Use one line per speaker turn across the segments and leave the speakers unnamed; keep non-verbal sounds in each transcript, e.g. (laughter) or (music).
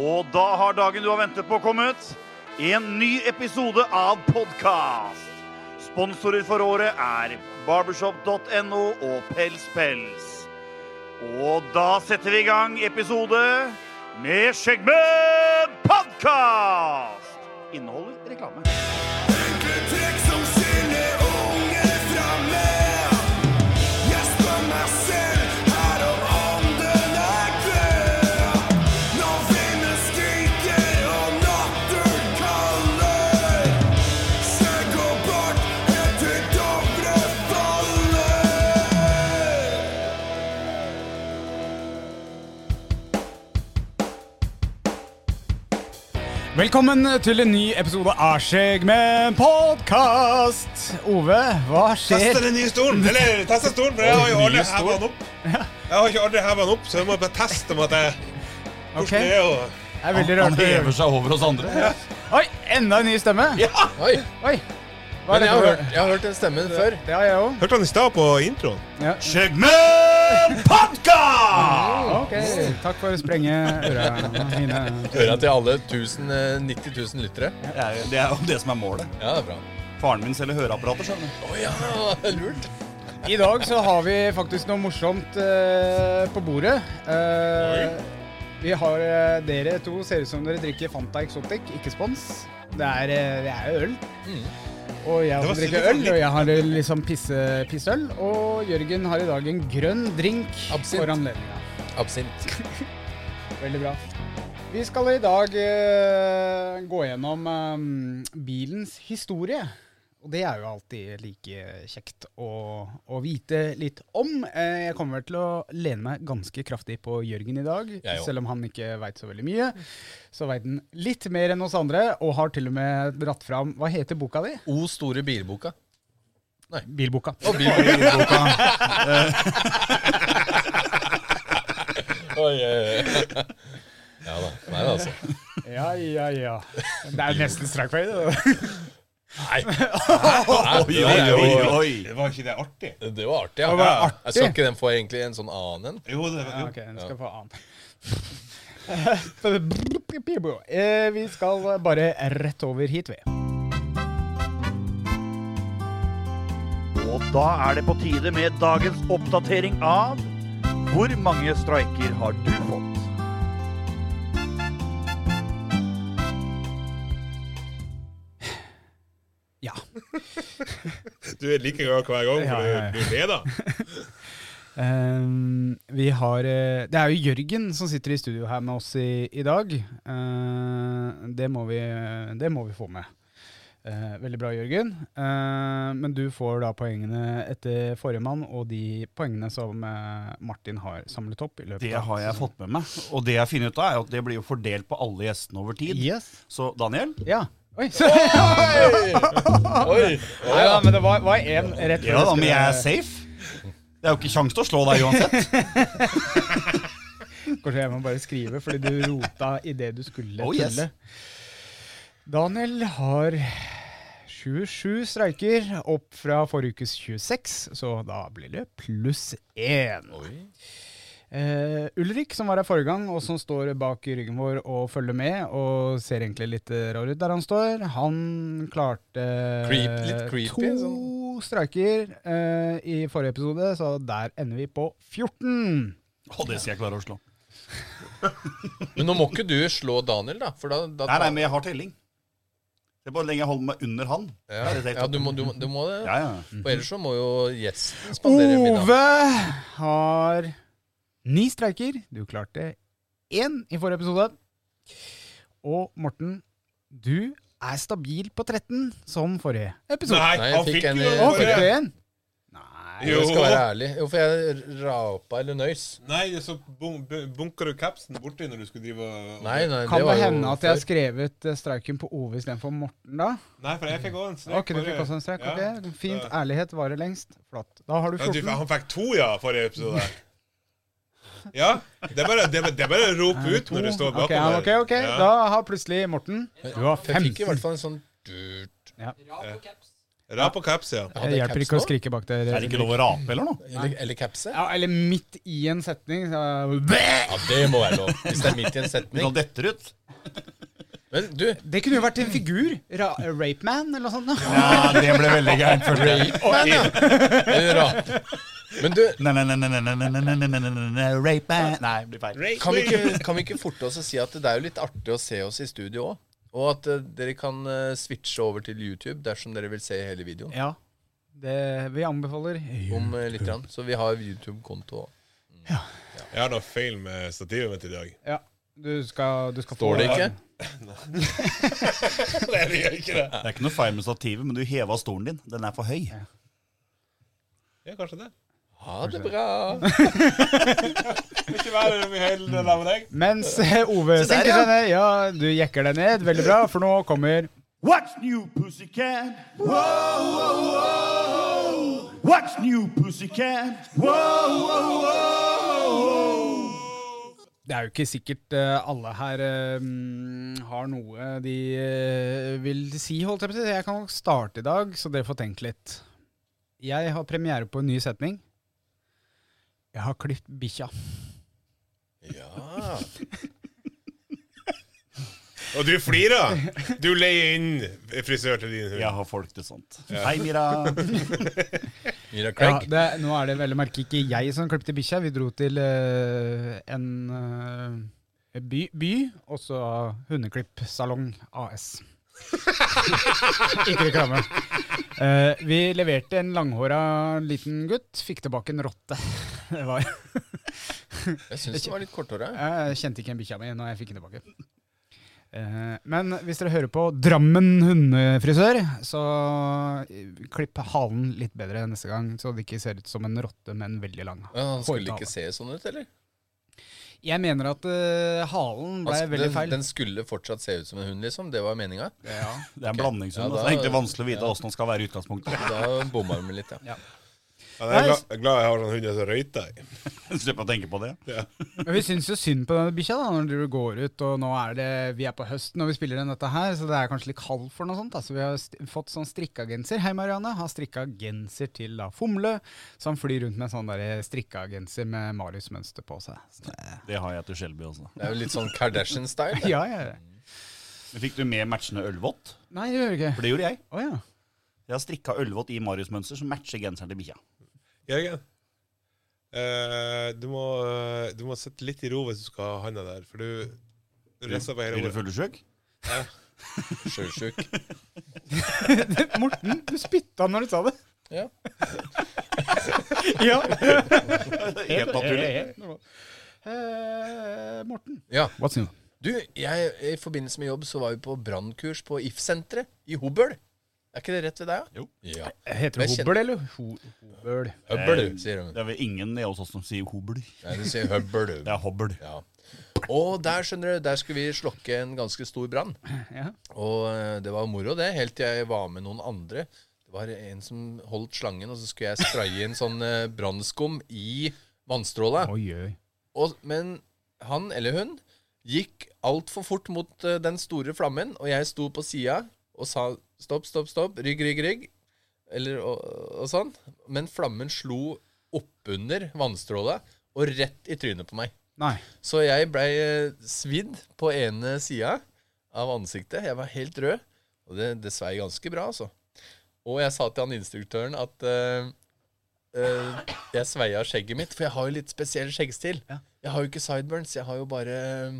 Og da har dagen du har ventet på, kommet. En ny episode av podkast. Sponsorer for året er barbershop.no og Pels Pels. Og da setter vi i gang episode med Skjeggmenn podkast! Inneholder reklame.
Enkle trekk som skiller unge fra meg. Jeg spør meg selv her om ånden er død. Når vinden skriker og natten kaller. Jeg går bort etter Dovre faller.
Velkommen til en ny episode av Skjegg med podkast! Ove, hva
Teste
skjer?
den nye stolen! Eller teste stolen, for jeg har jo aldri heva den opp. Jeg har ikke aldri heva den opp, så jeg må bare teste med at jeg
Ok,
hvordan det
jeg
er å
er veldig rørt.
seg over oss andre.
Oi, enda en ny stemme!
Oi,
Oi, hva
men
er
jeg
dette
har,
for
hørt, jeg har hørt den stemmen før.
Det har jeg òg.
Hørte han i stad på introen?
Ja.
Skjeggmenn podkast!
Ok, takk for å sprenge øra mine.
Øra til alle 1000, eh, 90 000 lyttere.
Det er, jo- det er jo det som er målet.
Ja, det er bra.
Faren min selger høreapparater, skjønner du.
Å ja, lurt.
I dag så har vi faktisk noe morsomt eh, på bordet. Eh, vi har eh, Dere to ser ut som dere drikker Fanta Exotic, ikke spons. Det er, eh, det er øl. Og jeg
Mm. Det var
også drikker
sikkert
øl,
litt-
og jeg har eh, liksom pisse, pissøl. Og Jørgen har i dag en grønn drink
Absint.
for anledninga.
Absint.
Veldig bra. Vi skal i dag eh, gå gjennom eh, bilens historie. Og det er jo alltid like kjekt å, å vite litt om. Eh, jeg kommer vel til å lene meg ganske kraftig på Jørgen i dag.
Jeg òg.
Selv om han ikke veit så veldig mye, så veit han litt mer enn oss andre, og har til og med dratt fram Hva heter boka di?
O store bilboka.
Bilboka.
Og bilboka. Oi, oi, oi. Ja da. Nei da, altså.
(laughs) Ja, ja, ja. Det er nesten strike fight.
Nei. Nei, det var jo-
oi.
Det var ikke det artig?
Det var artig. Ja.
Det var artig.
Jeg Skal ikke den få egentlig en sånn annen en?
Jo, det var
Ja,
jo.
ok, den skal få annen. (laughs) Eh, Vi skal bare rett over hit, vi.
Og da er det på tide med dagens oppdatering av Hvor mange streiker har du fått?
Ja.
Du er like glad hver gang,
Ja, ja, ja.
for du- du leder.
Ehm, vi har eh, Det er jo Jørgen som sitter i studio her med oss i, i dag. Eh, det, må vi, det må vi få med. Eh, veldig bra, Jørgen. Eh, men du får da poengene etter forrige mann, og de poengene som eh, Martin har samlet opp. i løpet
Det har jeg fått med meg. Og det jeg finner ut av, er at det blir jo fordelt på alle gjestene over tid.
Yes.
Så Daniel,
Ja.
(laughs)
Oi, (laughs) så-
Oi!
Nei da, men det var, var en rett før
ja da,
vi
men jeg er
skulle-
safe. Det er jo ikke kjangs til å slå deg uansett.
Kanskje jeg må bare skrive, fordi du rota i det du skulle
Oh,
tulle.
yes.
Daniel har 27 streiker, opp fra forrige ukes 26, så da blir det pluss én.
Oi.
Eh, Ulrik, som var her forrige gang, og som står bak i ryggen vår og følger med, og ser egentlig litt eh, rar ut der han står, han klarte eh,
Creep- litt creepy,
to
sånn.
streiker eh, i forrige episode, så der ender vi på 14.
Og det skal jeg klare (laughs) å slå.
Men nå må ikke du slå Daniel, da. For da, da
Nei, nei, men jeg har telling. Det er bare lenge jeg holder meg under han.
ja,
Det er helt
ja, du må, du, må- du må det.
Ja, ja.
For ellers så må jo gjesten spandere middag.
Ove har ni streiker. Du klarte én i forrige episode. Og Morten, du er stabil på 13, som forrige episode.
Nei,
Nei, jeg
han
fikk
fikk
en
jo
i-
Å, fikk
bare-
du en? Nei
Jo.
Jeg skal være ærlig. Jo, for jeg rapa eller nøys.
Nei, så bun- bu- bunker du capsen borti når du skulle drive og
Nei, nei,
Kan det
var jo
hende at jeg har
før.
skrevet eh, streiken på Ove istedenfor Morten, da?
Nei, for jeg fikk også en strek.
Ok, du fikk også en streik.
Ja.
ok. Fint.
Så-
Ærlighet varer lengst. Flott. Da har du
Ja, du,
14.
han fikk to, ja, forrige episode. (laughs) Ja. Det er bare, det er bare- det er bare å rope ut når du står
Eh, Ok,
bakom
ja, ok,
der.
ok.
Ja.
Da har plutselig Morten Du har
For Jeg fikk
15.
i hvert fall en sånn durt
Ja.
Et Rap og caps, ja.
Hadde
Det
jeg
hjelper
caps
ikke å
nå?
skrike bak der.
Er det ikke lov å rape eller noe?
Eller, eller capse?
Ja, eller midt i en setning. Så...
Ja, det må være lov. Hvis det er midt i en
Hvis han
setning.
detter ut?
Men du,
Det kunne jo vært en figur. Ra Rapeman eller noe sånt. da.
Ja, Ah, det ble veldig gærent. følte jeg.
eller rap. Men du,
Nei, nei, nei, nei, nei, nei, nei, nei, nei, nei, nei, nei, Rape man. Nei, det blir feil.
kan vi ikke, kan vi ikke forte oss å si at det er jo litt artig å se oss i studio òg? Og at eh, dere kan eh, switche over til YouTube dersom dere vil se hele videoen.
Ja. Det vi anbefaler.
Om eh, litt grann. Så vi har YouTube-konto òg.
Jeg har da feil med stativet mitt i dag.
Ja. Du skal, du skal
Står det ikke?
Nei, det gjør ikke det.
Det er ikke noe feil med stativet, men du heva stolen din. Den er for høy.
Ja, kanskje det.
Ha det bra!
Ikke vær i hele det der med deg.
Mens eh, Ove
Se der,
senker
ja.
seg ned. Ja, du jekker deg ned. Veldig bra, for nå kommer
What's new, pussycat? Whoa, whoa, whoa. What's new, pussycat? Whoa, whoa, whoa.
Det er jo ikke sikkert eh, alle her eh, mm, har noe de eh, vil si, holdt jeg på å si. Jeg kan starte i dag, så dere får tenkt litt. Jeg har premiere på en ny setning. Jeg har klipt bikkja.
Ja.
(laughs) Og du flirer. Du leier inn frisør til din hund.
Jeg har folk til (laughs) sånt. Hei, Mira.
Mira
Ja,
Craig.
det, nå er det veldig merke ikke jeg som klipte bikkja. Vi dro til eh, en eh, by, by, og så Hundeklippsalong AS. ikke reklame. Eh, vi leverte en langhåra liten gutt, fikk tilbake en rotte. Det var,
Jeg syns den var litt korthåra.
jeg kjente ikke igjen bikkja mi når jeg fikk den tilbake. Eh, men hvis dere hører på Drammen hundefrisør, så eh, klipp halen litt bedre neste gang, så det ikke ser ut som en rotte, men veldig lang.
Ja, Han skulle
Hårtale.
ikke se sånn ut, eller?
Jeg mener at eh, halen ble
Altså,
veldig
den,
feil.
den skulle fortsatt se ut som en hund, liksom. Det var meninga.
Det er en blandingshund.
Ja, da-
altså. Det er egentlig vanskelig å vite åssen han skal være i utgangspunktet.
Da bomma vi litt, ja.
Ja, jeg er glad, jeg er glad jeg har sånn hund som røyter.
Slipp å tenke på det.
Men vi syns jo synd på denne bikkja da, når du går ut, og nå er det, vi er på høsten og vi spiller inn dette her, så det er kanskje litt kaldt for noe sånt. Da. Så vi har st fått sånn strikka genser. Hei, Marianne. Har strikka genser til da Fomle, så han flyr rundt med en sånn der strikka genser med Marius-mønster på seg.
(laughs)
Så, det-
Det har jeg til Skjelby også.
Det er jo litt sånn Kardashian-style.
ja, ja, ja.
Men Fikk du med matchende ølvott?
Nei, det gjør det ikke.
For det gjorde jeg.
Å ja.
Jeg har strikka ølvott i Marius-mønster som matcher genseren til bikkja.
Jørgen, eh, du, må, eh, du må sitte litt i ro hvis du skal ha handa der, for du du rister på hele
Blir du
ordet.
fyllesyk?
Sjøsjuk.
Morten, du spytta når du sa
(laughs)
det.
Ja.
ja.
Helt naturlig.
Eh, Morten.
ja.
What's new?
Du, jeg, i forbindelse med jobb så var vi på brannkurs på IF-senteret i Hobøl. Er ikke det rett ved deg?
Jo.
Ja.
Heter
Men
det
jeg
Hobøl eller Ho Hobøl?
Høbbel, sier de.
Eh, Det er vel ingen i oss også som sier hobl.
Nei, de sier høbbel.
Det er hobbel.
Ja. Og der, skjønner du, der skulle vi slokke en ganske stor brann.
Ja.
Og eh, det var moro, det, helt til jeg var med noen andre. Det var en som holdt slangen, og så skulle jeg spraye en sånn eh, brannskum i vannstråla.
Oi, oi.
Og, men han eller hun gikk altfor fort mot eh, den store flammen, og jeg sto på sida og sa stopp, stopp, stopp, rygg, rygg, rygg. Eller, og, og sånn. Men flammen slo oppunder vannstråla og rett i trynet på meg.
Nei.
Så jeg blei eh, svidd på ene sida av ansiktet. Jeg var helt rød, og det, det svei ganske bra, altså. Og jeg sa til han instruktøren at eh, eh, jeg sveia skjegget mitt, for jeg har jo litt spesiell skjeggstil.
Ja.
Jeg har jo ikke sideburns, jeg har jo bare eh,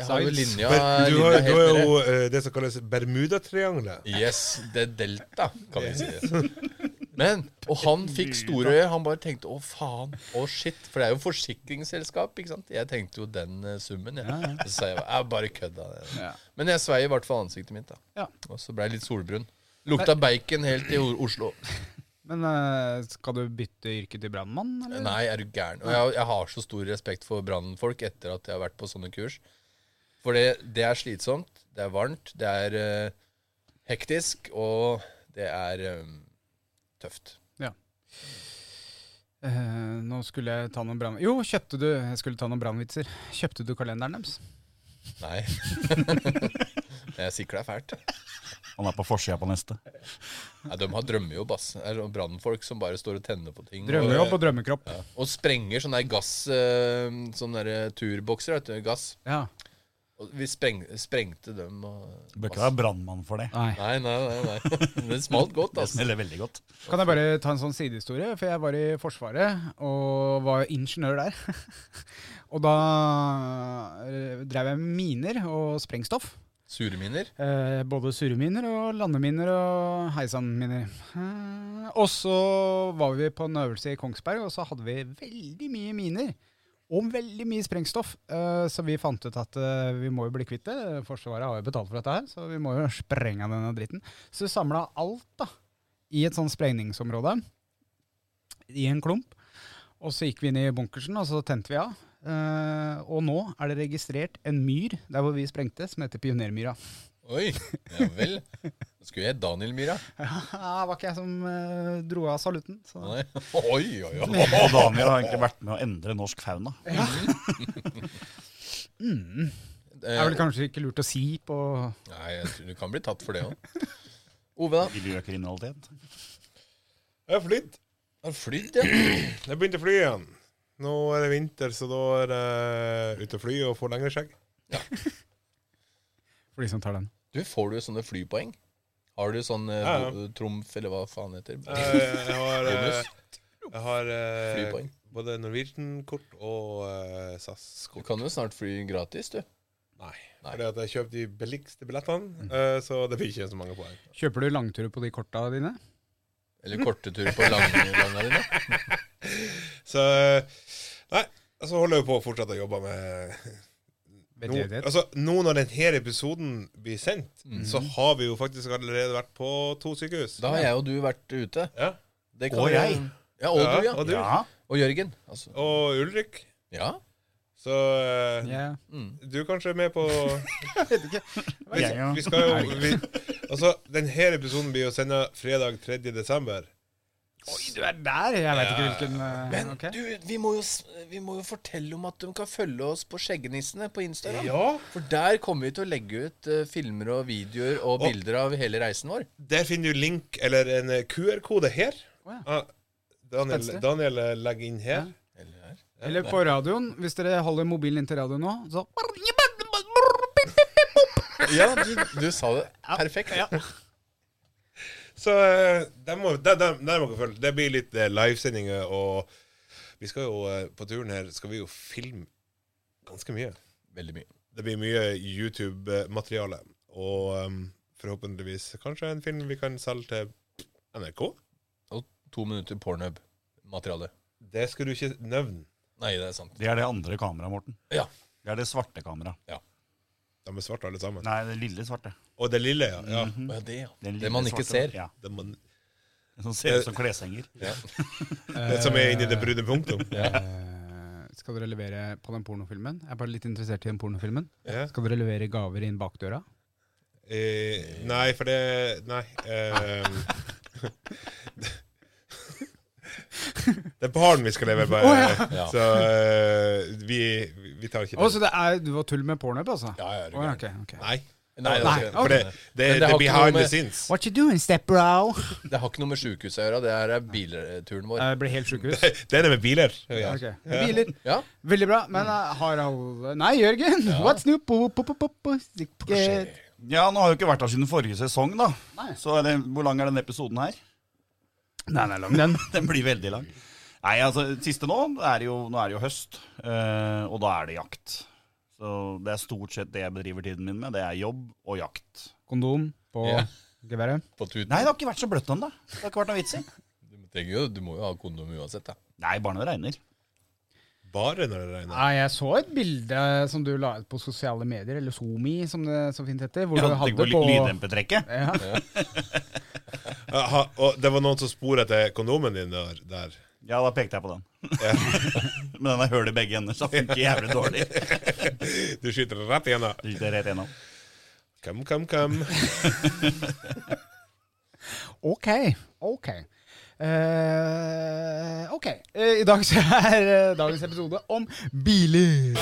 Jeg har jo
Sides.
linja,
Men du
linja
har, du
helt
har
nede.
jo eh, det som kalles Bermudatriangelet.
Yes, det er delta, kan vi si. Men, Og han fikk store øyne. Han bare tenkte 'å, faen', 'å, shit'. For det er jo forsikringsselskap, ikke sant? Jeg tenkte jo den eh, summen, jeg. Så sa jeg jeg bare kødda. det».
Ja.
Men jeg svei i hvert fall ansiktet mitt, da.
Ja.
Og så ble jeg litt solbrun. Lukta bacon helt i O- Oslo.
Men eh, skal du bytte yrke til brannmann, eller?
Nei, er du gæren. Og jeg, jeg har så stor respekt for brannfolk etter at jeg har vært på sånne kurs. For det, det er slitsomt, det er varmt, det er eh, hektisk, og det er eh, tøft.
Eh, nå skulle jeg ta noen brann... Jo, kjøpte du Jeg skulle ta noen brannvitser. Kjøpte du kalenderen deres?
Nei. (laughs) Jeg sikla fælt.
Han er på forsida på neste.
Nei, de har drømmejobb, ass. Det er Brannfolk som bare står og tenner på ting.
Drømmejobb og drømmekropp.
Og, og sprenger sånne der gass eh, Sånne der turbokser, vet du. Gass.
Ja.
Og vi spreng, sprengte dem og
Bør ikke være brannmann for det.
Nei.
Nei, nei, nei. (laughs) nei. Men Det smalt godt,
Det
ass.
smeller veldig godt.
Kan jeg bare ta en sånn sidehistorie? For jeg var i Forsvaret og var ingeniør der. (laughs) og da eh, drev jeg med miner og sprengstoff.
Surminer.
Eh, både surreminer og landeminer og heisanminer. Eh, og så var vi på en øvelse i Kongsberg, og så hadde vi veldig mye miner. Og veldig mye sprengstoff. Eh, så vi fant ut at eh, vi må jo bli kvitt det. Forsvaret har jo betalt for dette her, så vi må jo (laughs) sprenge av denne dritten. Så vi samla alt da, i et sånt sprengningsområde i en klump. Og så gikk vi inn i bunkersen, og så tente vi av. Eh, og nå er det registrert en myr der hvor vi sprengte, som heter Pionermyra.
Oi, ja vel. Det skulle jeg hett Daniel Myhra.
Ja, det var ikke jeg som eh, dro av salutten. Så.
Nei. Oi, oi, oi.
Og Daniel har egentlig vært med å endre norsk fauna.
Det er vel kanskje ikke lurt å si på
Eh, Nei, jeg tror du kan bli tatt for det òg. Ove, da?
Miljøkriminalitet.
Jeg har flydd.
Har du flydd, ja?
Jeg begynte å fly igjen. Nå er det vinter, så da er det ute og fly og få lengre
(laughs)
skjegg.
for de som tar den.
Du, får du sånne flypoeng? Har du sånn eh,
Ja, ja.
bo- trumf, eller hva faen heter
Eh, Jeg har, eh,
Bonus.
jeg har eh,
Flypoeng.
både Norwegian-kort og eh,
Du
SAS-kort.
kan jo snart fly gratis, du.
Nei.
Nei. Mm.
Fordi at jeg kjøpte de billigste billettene, eh, så det blir ikke så mange poeng.
Kjøper du langturer på de korta dine?
Eller korte turer på langlanga dine.
Så eh, Nei. Så holder jeg på å fortsette å jobbe med nå,
Veldedighet.
altså, nå når denne episoden blir sendt, så har vi jo faktisk allerede vært på to sykehus.
Mhm. Da har jeg og du vært ute.
Ja.
Det
Og
jo-
jeg.
Ja, og du, ja.
Og, du.
Ja.
Og Jørgen. Altså.
og Ulrik.
Ja.
Så eh,
Ja.
du kanskje er med på vi,
Jeg, ja.
vi skal jo vi, Altså, denne episoden blir jo sendt fredag 3. desember.
Oi, du er der! Jeg veit ikke hvilken eh,
Men
ok.
du, vi må, jo, s- vi må jo fortelle om at de kan følge oss på Skjeggenissene på Instagram. For der kommer vi til å legge ut eh, filmer og videoer og bilder av hele reisen vår.
Der finner du link eller en eh, QR-kode her.
Å,
Ah, Daniel,
Spenstig.
Daniel eh, legger inn her.
Eller her.
Eller på radioen. Hvis dere holder mobilen inntil radioen nå, så
Ja, du, (laughs) du sa det perfekt.
Så eh, der må, der, der, der må dere følge. Det blir litt eh, livesendinger, og vi skal jo eh, på turen her skal vi jo filme ganske mye.
Veldig mye.
Det blir mye YouTube-materiale. Og eh, forhåpentligvis kanskje en film vi kan selge til NRK?
Og to minutter pornhub-materiale.
Det skal du ikke nevne.
Nei, det er sant.
Det er det andre kameraet, Morten.
Ja.
Det er det svarte kameraet.
De er svarte alle sammen.
Nei, det lille svarte.
Og det lille, ja. ja.
Å, ja, det, ja.
Den
det
lille
man ikke
svarte,
ser. Eh.
Ja.
Det, man,
Som ser ut som kleshenger.
det som er inni det brune punktum.
Eh, Skal dere levere på den pornofilmen? Jeg er bare litt interessert i den pornofilmen.
Ja.
Skal dere levere gaver inn bakdøra?
Eh, nei, for det Nei. eh, det er barn vi skal leve med,
ja.
så eh, vi, vi tar ikke
Å, så det er, du var tull med pornhub, altså?
Ja, ja, er du
Å, ja,
gæren.
ok, ok.
Nei.
Nei, det,
Nei,
er ikke
For det,
det.
det,
Men det
det,
har ikke
er
noe
behind
med-
the scenes.
What you doing, stepbro?
det har ikke noe med sjukehuset å gjøre. Det er eh, bilturen vår.
Jeg ble helt sjukehus.
(laughs)
Det er det med biler. Ja.
Ok, Biler.
Ja,
Veldig bra. Men eh, har alle Nei, Jørgen! (laughs) What's new? Po, po, po, po, po, sikkert.
Ja, nå har jeg jo ikke vært her siden forrige sesong, da. Så er det, hvor lang er denne episoden her? (laughs)
Nei, nei, lang den.
Den blir veldig lang. Nei, altså, siste nå er det jo, nå er det jo høst, eh, og da er det jakt. Så det er stort sett det jeg bedriver tiden min med. Det er jobb og jakt.
Kondom på
Ja.
geværet.
på tuten.
Nei, det har ikke vært så bløtt ennå. Det har ikke vært noe vits i.
Du, trenger jo, du må jo ha kondom uansett, da.
Nei, bare når det regner.
Bare når det regner.
Nei, jeg så et bilde som du la ut på sosiale medier, eller Zoomi, som det så fint heter. Hvor
Ja,
du
Tenk
hadde
på
på
lyddempetrekket.
ja.
Aha, og det var noen som sporet etter kondomen din der. der.
Ja, da pekte jeg på den. (laughs) Men den har hull i begge ender, så den funker jævlig dårlig. (laughs)
Du skyter rett igjennom.
Du skyter rett gjennom.
Kom, kom, kom.
OK. OK. Eh, ok, Eh, I dag så er eh, dagens episode om biler.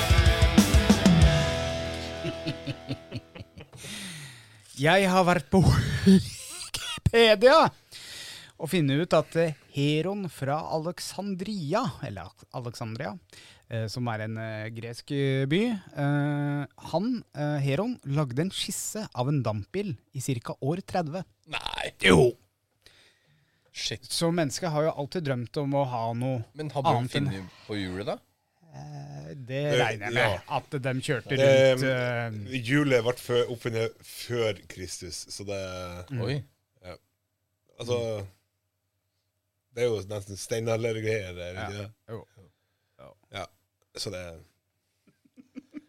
Jeg har vært på Wikipedia og funnet ut at eh, Heron fra Alexandria, eller Ak- Alexandria, eh, som er en eh, gresk eh, by, eh, han, eh, Heron, lagde en skisse av en dampbil i ca. år 30.
Nei.
Jo.
Shit.
Så mennesket har jo alltid drømt om å ha noe
Men hadde de
Annet enn-
funnet på hjulet, da?
Eh, Det regner jeg med
ja.
at de kjørte
Eh,
rundt. eh,
Hjulet ble fø- oppfunnet før Kristus, så det
Oi.
Altså Det er jo nesten steinaldergreier. er det ikke det?
jo.
Ja. Så det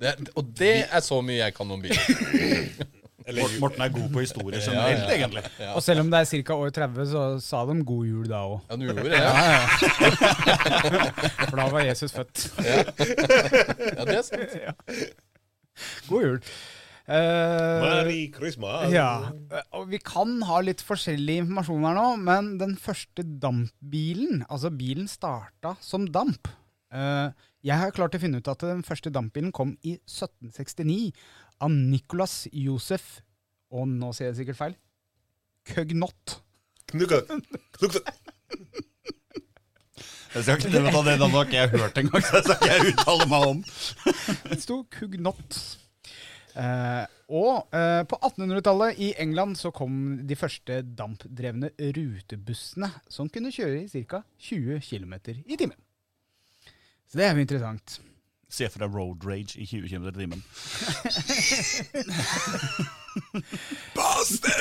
Det, og det er så mye jeg kan om biler.
Eller
Mort- Morten er god på historie
Ja,
generelt,
ja, ja.
egentlig.
Og selv om det er ca. år 30, så sa de god jul da òg.
Ja, du gjorde det? Ja,
For da var Jesus født. (laughs)
ja det er sant.
God jul. Eh,
Merry Christmas!
ja. Og vi kan ha litt forskjellig informasjon her nå, men den første dampbilen, altså bilen starta som damp. Eh, jeg har klart å finne ut at den første dampbilen kom i 1769 av Nicolas Josef Og nå sier jeg sikkert feil. Køgnott.
Knukka, knukka.
Jeg skal ikke nevne det, det har ikke jeg hørt engang, så det skal ikke jeg uttale meg om.
Det sto Kugnot. Eh, og eh, på 1800-tallet i England så kom de første dampdrevne rutebussene som kunne kjøre i ca. 20 km i timen. Så det er jo interessant.
Se for deg road rage i 20 km i (laughs) timen.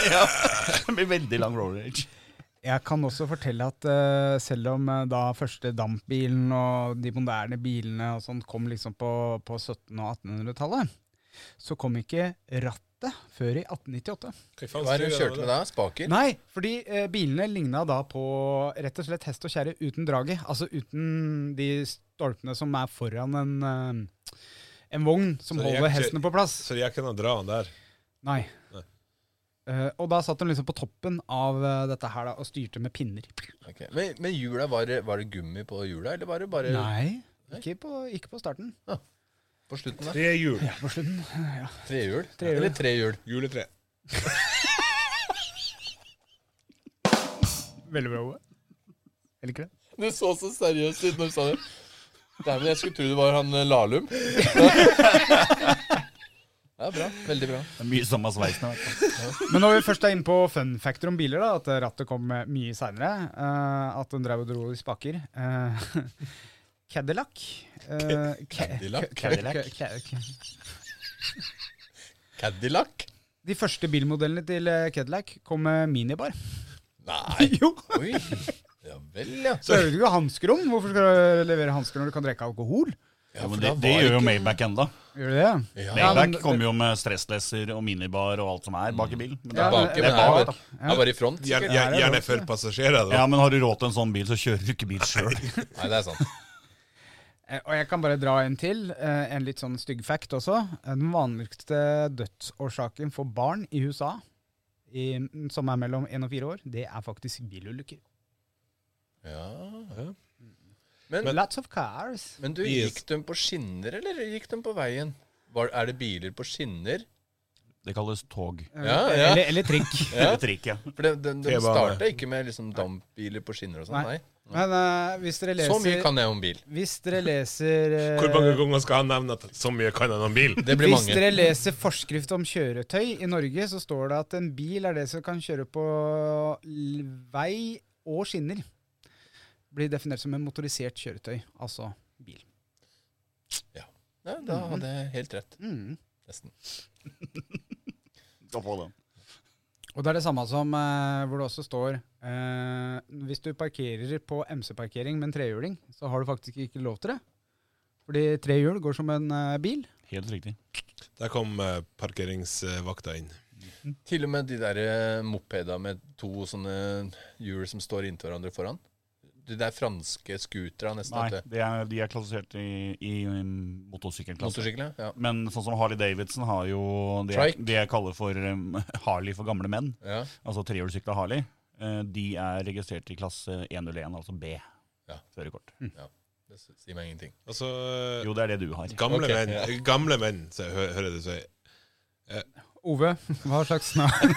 Ja, det blir veldig lang road rage.
Jeg kan også fortelle at eh, selv om eh, da første dampbilen og de moderne bilene og sånt kom liksom på, på 1700- og 1800-tallet, så kom ikke rattet før i 1898.
Hva er det hun kjørte med da? Spaker?
Nei, fordi eh, bilene ligna da på rett og slett hest og kjerre uten draget. Altså uten de stolpene som er foran en, eh, en vogn som
Så de er
holder
ikke-
hestene på plass.
Så jeg kunne dra han der.
Nei.
Nei.
Eh, og da satt de liksom på toppen av eh, dette her da, og styrte med pinner.
Ok. Men, men hjula, var det, var det gummi på hjula, eller var det
Eh.
bare
Nei, ikke på, ikke på starten.
på slutten? da?
Tre hjul.
På slutten.
Trehjul?
Trehjul.
Eller trehjul?
(laughs) Juletre.
Veldig bra, Ove. Eller ikke det?
Du så så seriøst ut når du sa det. Dæven, jeg skulle tro det var han eh, Lahlum. Ja, bra. Veldig bra.
Det er mye samme sveisen. jeg vet.
Men når vi først er inne på fun factor om biler, da, at rattet kom eh, mye seinere, at den drev og dro i spaker eh, (laughs) Cadillac eh, ca-
Cadillac?
ca- ca- (laughs) ca- ca-
Cadillac?
De første bilmodellene til eh, Cadillac kom med minibar.
Nei.
(laughs) Jo!
Oi. Ja vel, ja.
Så hører du ikke hanskerom. Hvorfor skal du levere hansker når du kan drikke alkohol?
Ja,
for
men
da
det,
var
det
ikke-
gjør jo Maybach enda.
Gjør du det?
Ja,
men-
Maybach kommer jo med stressleser og minibar og alt som er bak i bilen. Men det
Ja,
er
bak,
bak,
men
det er
det er
bak.
bak. jeg var i front.
Gjerne,
Ja, det er
gjerne
lov.
for passasjerer, da.
Ja, men har du råd til en sånn bil, så kjører du ikke bil sjøl.
Nei, det er sant.
Eh, Og jeg kan bare dra en til, eh, en litt sånn stygg fact også. Eh, Den vanligste dødsårsaken for barn i USA, i, som er mellom 1 og 4 år, det er faktisk bilulykker.
Ja.
Men, Lots of cars.
Men du,
Yes.
gikk de på skinner, eller gikk de på veien? Var, er det biler på skinner?
(laughs)
Det kalles tog.
Ja, ja.
Eh, Eller, eller trikk.
(laughs) Ja.
Eller trikk, ja.
For de, de, de
T-bane.
starta ikke med liksom dampbiler på skinner og sånn,
Nei.
nei.
Men eh, hvis dere leser
Så mye kan jeg om bil.
Hvis dere leser eh,
Hvor mange ganger skal han nevne at så mye kan han om bil?
Det blir
Hvis
mange.
dere leser forskrift om kjøretøy i Norge, så står det at en bil er det som kan kjøre på l- vei og skinner. Blir definert som en motorisert kjøretøy, altså bil.
Ja, da
Mhm.
hadde jeg helt rett.
Mm.
Nesten.
Skal få den.
Og det er det samme som eh, hvor det også står eh, Hvis du parkerer på MC-parkering med en trehjuling, så har du faktisk ikke lov til det. Fordi tre hjul går som en eh, bil.
Helt riktig.
Der kom eh, parkeringsvakta inn.
Til og med de der eh, mopeda med to sånne hjul som står inntil hverandre foran. De der franske scootera, nesten.
Nei,
vet du.
de er, de er klassifisert i, i um, motorsykkelklasse.
Motorsykler? Ja.
Men sånn som Harley Davidson har jo det, jeg-
Trike.
det jeg kaller for um, (laughs) Harley for gamle menn.
ja.
Altså trehjulssykla Harley. eh, De er registrert i klasse 101, altså B.
Ja.
Førerkort.
Det s- sier meg ingenting.
Altså
Jo, det er det du har.
Gamle
Ok,
menn,
ja.
gamle menn så hø hører du si.
Ove, hva slags navn?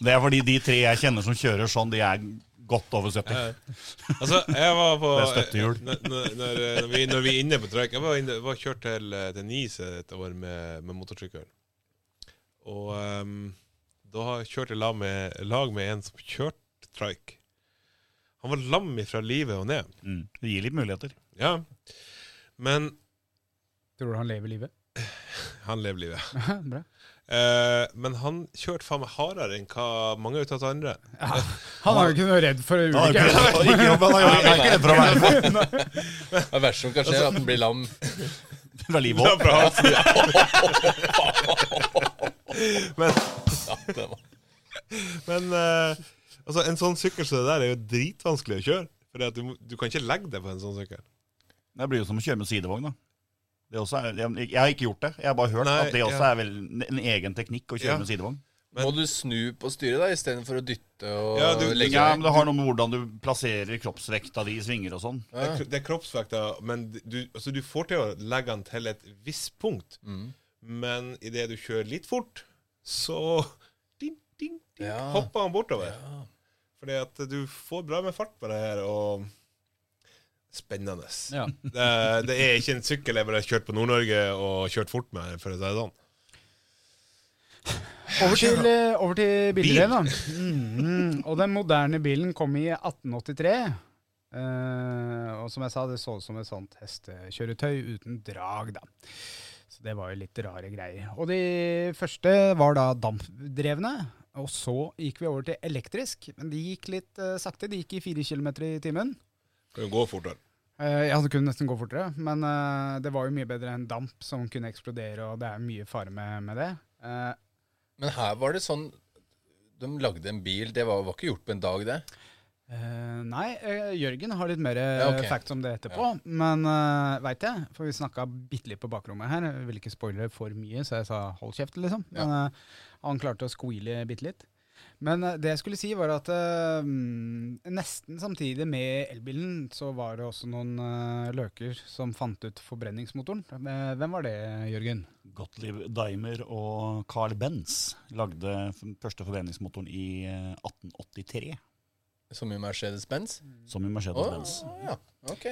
Det er fordi de tre jeg kjenner som kjører sånn, de er godt over 70.
Altså, jeg var på
Det er støttehjul.
Når, når, når, vi, når vi er inne på trøkk Jeg var, inne, var kjørt til, til Nice et år med, med motorsykkel. Og ehm, da har jeg kjørt i lag med, lag med en som kjørte trike. Han var lam ifra livet og ned.
Mm. Det gir litt muligheter.
Ja. Men
(laughs) Tror du han lever livet? (laughs)
han lever livet.
Bra.
Eh, men han kjørte faen meg hardere enn hva mange av de andre.
Han har jo ikke noe redd for
Han har
ulykker.
ikke- (laughs) ikke jobb, han har jo ikke redd for å være med
(laughs)
Det er verste som kan skje, er at den blir lam.
fra livet opp. (laughs)
Bra. men
Ja, det var.
Men eh, altså, en sånn sykkel som det der er jo dritvanskelig å kjøre. For du, må- du kan ikke legge deg på en sånn sykkel.
Det blir jo som å kjøre med sidevogn, da. Det også er, jeg, jeg har ikke gjort det. Jeg har bare hørt
Nei,
at det også
ja.
er vel en- en egen teknikk å kjøre
Ja.
med sidevogn.
Må du snu på styret da, istedenfor å dytte og
Ja, du-
legge
Ja, men Det har noe med hvordan du plasserer kroppsvekta di i svinger og sånn.
Det er kro- Det er kroppsvekta, men du, altså, du får til å legge den til et visst punkt.
Mm.
Men idet du kjører litt fort, så ding, ding, ding,
Ja.
hopper han bortover. Fordi at du får bra med fart på det her, og Spennende.
Ja.
Det, (laughs) det er ikke en sykkel jeg bare har kjørt på Nord-Norge og kjørt fort med, for å si det sånn.
Over til, eh, over til bilrev, da. Mhm. Og den moderne bilen kom i 1883. Eh, og som jeg sa, det så ut som et sånt hestekjøretøy uten drag, da. Så det var jo litt rare greier. Og de første var da dampdrevne. Og så gikk vi over til elektrisk, men de gikk litt eh, sakte. De gikk i fire kilometer i timen.
Kan jo gå fortere.
Eh, ja, det kunne nesten gå fortere, men eh, det var jo mye bedre enn damp som kunne eksplodere, og det er mye fare med, med det. Eh,
Men her var det sånn De lagde en bil. Det var, var ikke gjort på en dag, det.
Eh, nei, eh, Jørgen har litt mer
Ja,
uh,
ok.
facts om det etterpå. Men uh, veit jeg, for vi snakka bitte litt på bakrommet her. Jeg ville ikke spoile for mye, så jeg sa hold kjeft, liksom.
Ja.
Men eh, han klarte å squeale bitte litt. Men eh, det jeg skulle si, var at eh, mm, nesten samtidig med elbilen, så var det også noen eh, løker som fant ut forbrenningsmotoren. Eh, hvem var det, Jørgen?
Gottlieb Daimer og Carl Benz lagde den første forbrenningsmotoren i eh, 1883,
Som i Mercedes-Benz?
som i Mercedes-Benz.
Å, ja. Ok.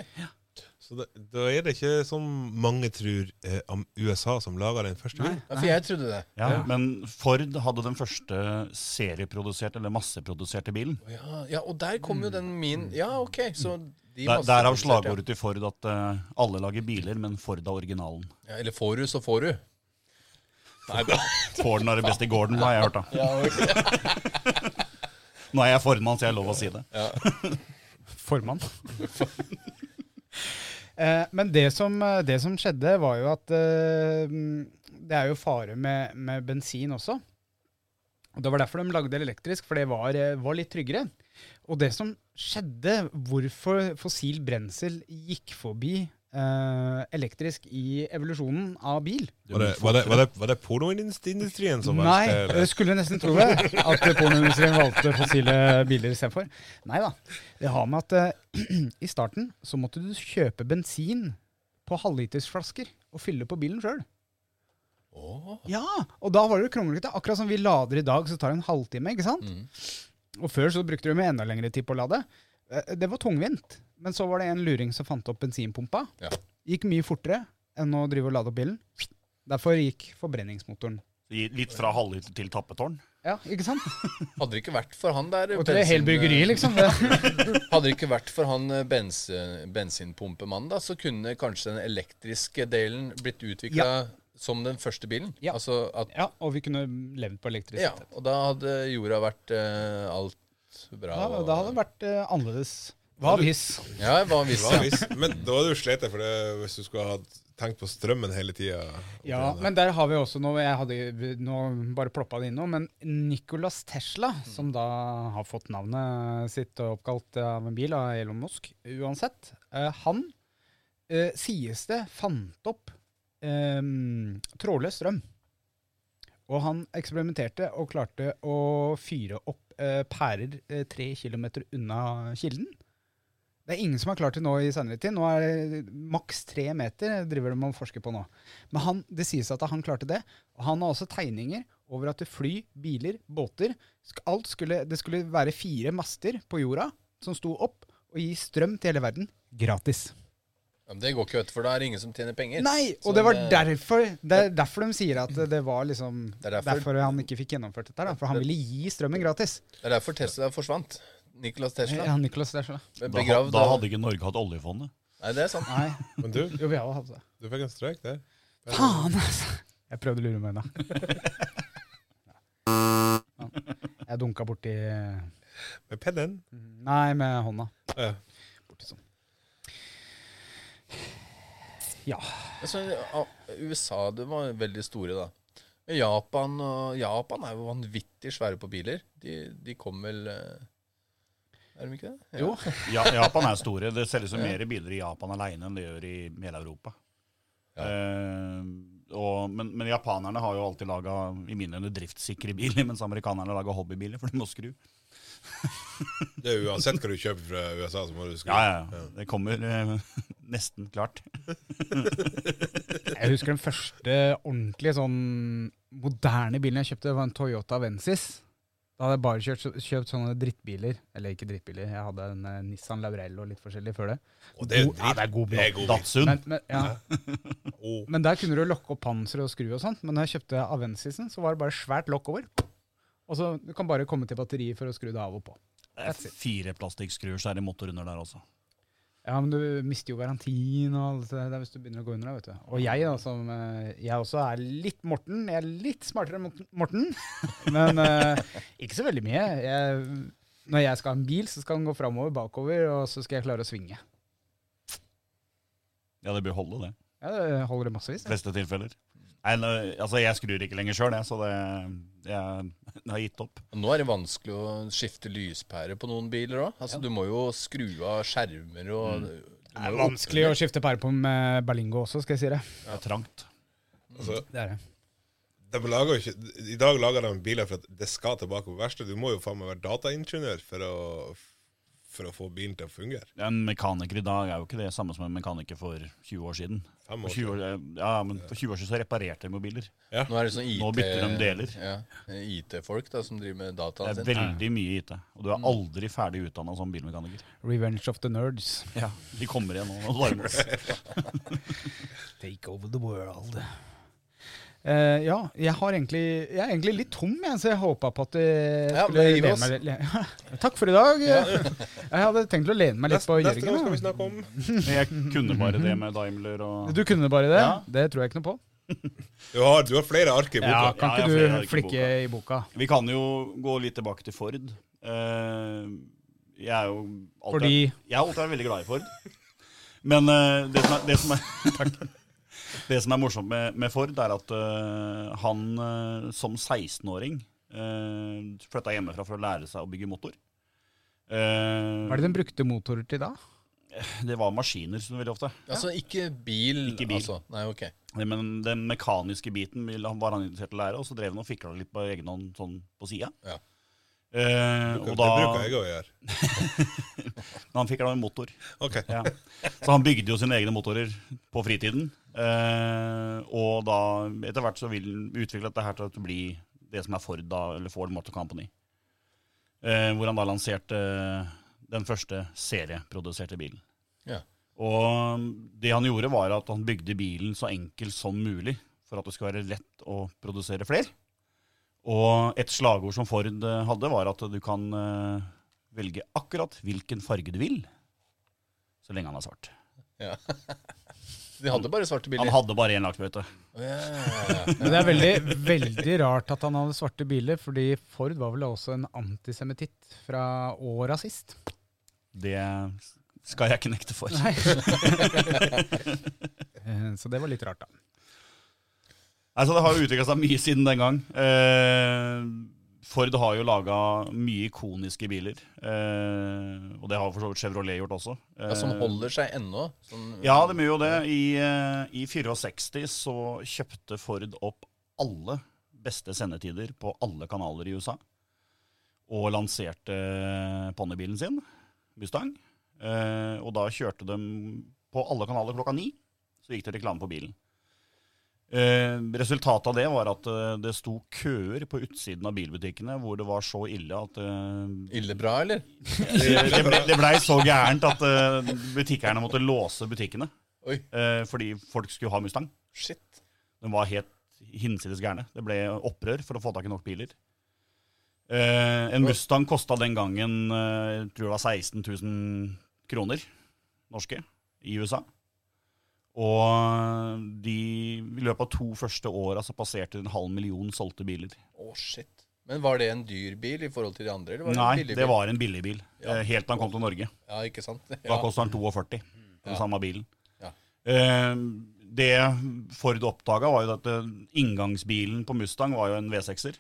Så da, da er det ikke som mange tror eh, om USA som lager den første bilen.
Ja, for jeg trodde det.
Ja, men Ford hadde den første serieproduserte, eller masseproduserte bilen.
Å, Ja, ja, og der kom jo den min Ja, ok. Så de
Mm. Der,
masse-
derav slagordet til Ford at eh, alle lager biler, men Ford er originalen.
Ja, eller får du, så får du. Nei,
(laughs)
bra.
Forden er det beste i Gordon, har jeg hørt. da.
Ja, ok.
Nå er jeg formann, så jeg har lov å si det.
Formann. (laughs) Eh, Men det som, eh, det som skjedde, var jo at eh, mm, det er jo fare med, med bensin også. Og Det var derfor de lagde det elektrisk, for det var, eh, var litt tryggere. Og det som skjedde, hvorfor fossil brensel gikk forbi eh, elektrisk i evolusjonen av bil
Var det, var det, var det, var det pornoindustrien som
Nei,
verste, eller?
jeg skulle nesten tro det. At pornoindustrien valgte fossile biler istedenfor. Nei da. Det har med at eh, (clears throat) i starten så måtte du kjøpe bensin på halvlitersflasker og fylle på bilen sjøl. Ja, og da var det jo kronglete. Akkurat som vi lader i dag, så tar det en halvtime. ikke sant? Og før så brukte de enda lengre tid på å lade. Eh, Det var tungvint. Men så var det en luring som fant opp bensinpumpa.
Ja.
Gikk mye fortere enn å drive og lade opp bilen. Derfor gikk forbrenningsmotoren.
Litt fra halvhytte til tappetårn.
Ja, ikke sant?
Hadde det ikke vært for han der
Og til hele
bensin-
bryggeriet, liksom. Det.
Hadde det ikke vært for han eh, bens, bensinpumpemannen, da, så kunne kanskje den elektriske delen blitt utvikla som den første bilen.
Ja.
Altså at,
Ja, og vi kunne levd på
ja,
elektrisitet.
og da hadde jorda vært eh, alt bra.
Da,
og-
da hadde det vært eh, annerledes. Hva hvis?
Ja, hva hvis
Hva
ja.
hvis, men da hadde du slitt for det hvis du skulle ha tenkt på strømmen hele tida.
Ja, men der har vi også noe jeg hadde nå bare ploppa det inn noe, men Nicholas Tesla, som da har fått navnet sitt og oppkalt av en bil av Elon Musk, uansett, eh, han eh, sies det fant opp eh, trådløs strøm. Og han eksperimenterte og klarte å fyre opp eh, pærer eh, tre kilometer unna kilden Det er ingen som har klart det nå i senere tid. Nå er det maks tre meter driver de og forsker på nå. Men han, det sies at han klarte det. Og han har også tegninger over at det fly, biler, båter sk- alt skulle, Det skulle være fire master på jorda som sto opp og gi strøm til hele verden gratis.
Ja, men det går ikke, vet du, for da er det ingen som tjener penger.
Nei!
Så
Og det var
det-
derfor, det er derfor de sier at det var liksom
(clears throat) Det er
derfor,
derfor-
han ikke fikk gjennomført dette. her, Da, for han ville gi strømmen gratis.
Det er derfor Tesla forsvant. Nikolas Tesla.
Ja, Nicholas, det er så.
ble
Da, ha-
Begravd.
da
av-
hadde ikke Norge hatt oljefondet.
Nei, det er sant.
Nei,
Men du,
jo, vi hadde hatt det.
du fikk en strek der.
Faen, altså! Jeg prøvde å lure meg unna. (laughs) Ja. Jeg dunka borti
Med pennen.
Nei, med hånda.
Ja.
Borti sånn.
Altså, ja, USA det var veldig store, da. Men Japan, og Japan er jo vanvittig svære på biler. De, de kom vel eh, Er de ikke det? Ja.
Jo.
Ja, Japan er store. Det selges jo
Ja.
mer biler i Japan alene enn det gjør i hele Europa.
Ja.
Eh, og, men, men japanerne har jo alltid laga driftssikre biler, mens amerikanerne laga hobbybiler, for de må skru.
Det er uansett hva du kjøper fra USA, så må du skru.
Ja, ja, ja. Det kommer eh, nesten klart.
Jeg husker den første ordentlige sånn moderne bilen jeg kjøpte, var en Toyota Vensis. Da hadde jeg bare kjørt, kjøpt sånne drittbiler. Eller ikke drittbiler, jeg hadde en eh, Nissan Laurel og litt forskjellig før det.
Og det er jo
God- ja, det er god
Det er god bil.
Datsun.
Men, men, ja.
(laughs) Oh.
Å,
men der kunne du lokke opp panseret og skru og sånt. Men når jeg kjøpte Avensisen, så var det bare svært lokk over. Og så du kan bare komme til batteriet for å skru det av og på.
Det er Fire plastikkskruer, så er det motor under der også.
Ja, men du mister jo garantien og alt det der hvis du begynner å gå under deg, vet du. Og jeg da, som eh, Jeg også er litt Morten. Jeg er litt smartere enn Morten- Morten, (laughs) men eh, ikke så veldig mye. Jeg, når jeg skal ha en bil, så skal den gå framover, bakover, og så skal jeg klare å svinge.
Ja, det bør holde, det.
Ja, det holder i massevis.
De fleste tilfeller. Nei, nå, altså, jeg skrur ikke lenger sjøl, jeg, så det jeg, jeg har gitt opp.
Og Nå er det vanskelig å skifte lyspære på noen biler òg. Altså, Du må jo skru av skjermer
Mm.
og
Det er vanskelig å skifte pære på med Berlingo også, skal jeg si det.
Det er trangt.
altså,
Det er det.
de lager jo ikke, I dag lager de biler for at det skal tilbake på verkstedet. Du må jo faen meg være dataingeniør for å, for å få bilen til å fungere.
En mekaniker i dag er jo ikke det samme som en mekaniker for 20 år siden.
Fem
For
år
20 år, ja, men for 20 år siden så reparerte de mobiler.
Nå er det sånn IT,
Nå bytter de deler.
Ja, IT-folk da, som driver med
Det
dataen
er
sin.
veldig mye IT. Og du er aldri ferdig utdanna som bilmekaniker.
Revenge of the nerds.
Ja, De kommer igjen nå. og larmer oss.
Take over the world. Eh, ja, jeg, har egentlig, jeg er egentlig litt tom, jeg, så jeg håpa på at det
Ja,
skulle
men gi
lene
oss.
meg litt. Ja. Takk for i dag. (laughs) Jeg hadde tenkt å lene meg litt
Neste,
på
neste gang skal
Jørgen. da.
vi snakke om
Men Jeg kunne bare det med Daimler og
Du kunne bare det?
Ja.
Det tror jeg ikke noe på.
Du har, du har flere ark i boka.
Ja, kan
Ja,
ikke
jeg
du
har ikke
flikke
boka.
i boka?
Vi kan jo gå litt tilbake til Ford. Eh, jeg er jo alltid,
Fordi-
Jeg er alltid veldig glad i Ford. Men eh, det, som er, det, som er, (laughs) takk. det som er morsomt med, med Ford, er at eh, han eh, som 16-åring uh, flytta hjemmefra for å lære seg å bygge motor. Eh,
Hva er det de brukte motorer til da?
det var maskiner som veldig ofte.
Altså ikke bil,
Ikke bil.
altså. Nei, ok. men
Men den mekaniske biten ville han- var han interessert i å lære, og så drev han og fikla litt på egen hånd sånn på sida.
Ja.
og
Det bruker
da
jeg å gjøre.
Han fikla en motor.
Ok.
Ja. Så han bygde jo sine egne motorer på fritiden. Eh, og da etter hvert så vil han utvikle dette her til å bli det som er Ford, da, eller Ford Motor Company. Eh, hvor han da lanserte den første serieproduserte bilen.
Ja.
Og det han gjorde, var at han bygde bilen så enkel som mulig for at det skulle være lett å produsere flere. Og et slagord som Ford eh, hadde, var at du kan eh, velge akkurat hvilken farge du vil, så lenge han er svart.
Ja. De hadde bare svarte biler.
Han hadde bare én laks, vet du.
Ja, ja,
Men Det er veldig, veldig rart at han hadde svarte biler, fordi Ford var vel også en antisemititt fra åra sist.
Det skal jeg ikke nekte for.
Nei. (laughs) Eh, Så det var litt rart, da.
Altså, det har jo utvikla seg mye siden den gang. Eh, Ford har jo laga mye ikoniske biler. Eh, og det har for så vidt Chevrolet gjort også. Eh,
ja. Som holder seg ennå. Sånn,
Ja, de gjør jo det. I, eh, I 64 så kjøpte Ford opp alle beste sendetider på alle kanaler i USA. Og lanserte ponnibilen sin, eh, Mustang. Eh, og da kjørte de på alle kanaler klokka ni. Så gikk det reklame på bilen. Eh, resultatet av det var at eh, det sto køer på utsiden av bilbutikkene hvor det var så ille at eh,
Ille bra, eller?
det, det blei det ble så gærent at eh, butikkerne måtte låse butikkene
Oi,
eh, fordi folk skulle ha Mustang.
shit.
De var helt hinsides gærne. Det ble opprør for å få tak i nok biler. Eh, en Mustang kosta den gangen eh, jeg tror det var 16 000 kroner norske i USA. Og eh, de, i løpet av to første åra så passerte en halv million solgte biler.
Å, shit. Men var det en dyr bil i forhold til de andre? Eller var det en
Nei,
billig
det
bil?
var en billigbil.
Ja.
Eh, helt til han kom til Norge.
Ja, ikke sant?
Da
Ja.
koster den 42, den
Ja.
samme bilen.
Ja.
Eh, det Ford oppdaga, var jo at eh, inngangsbilen på Mustang var jo en V6-er.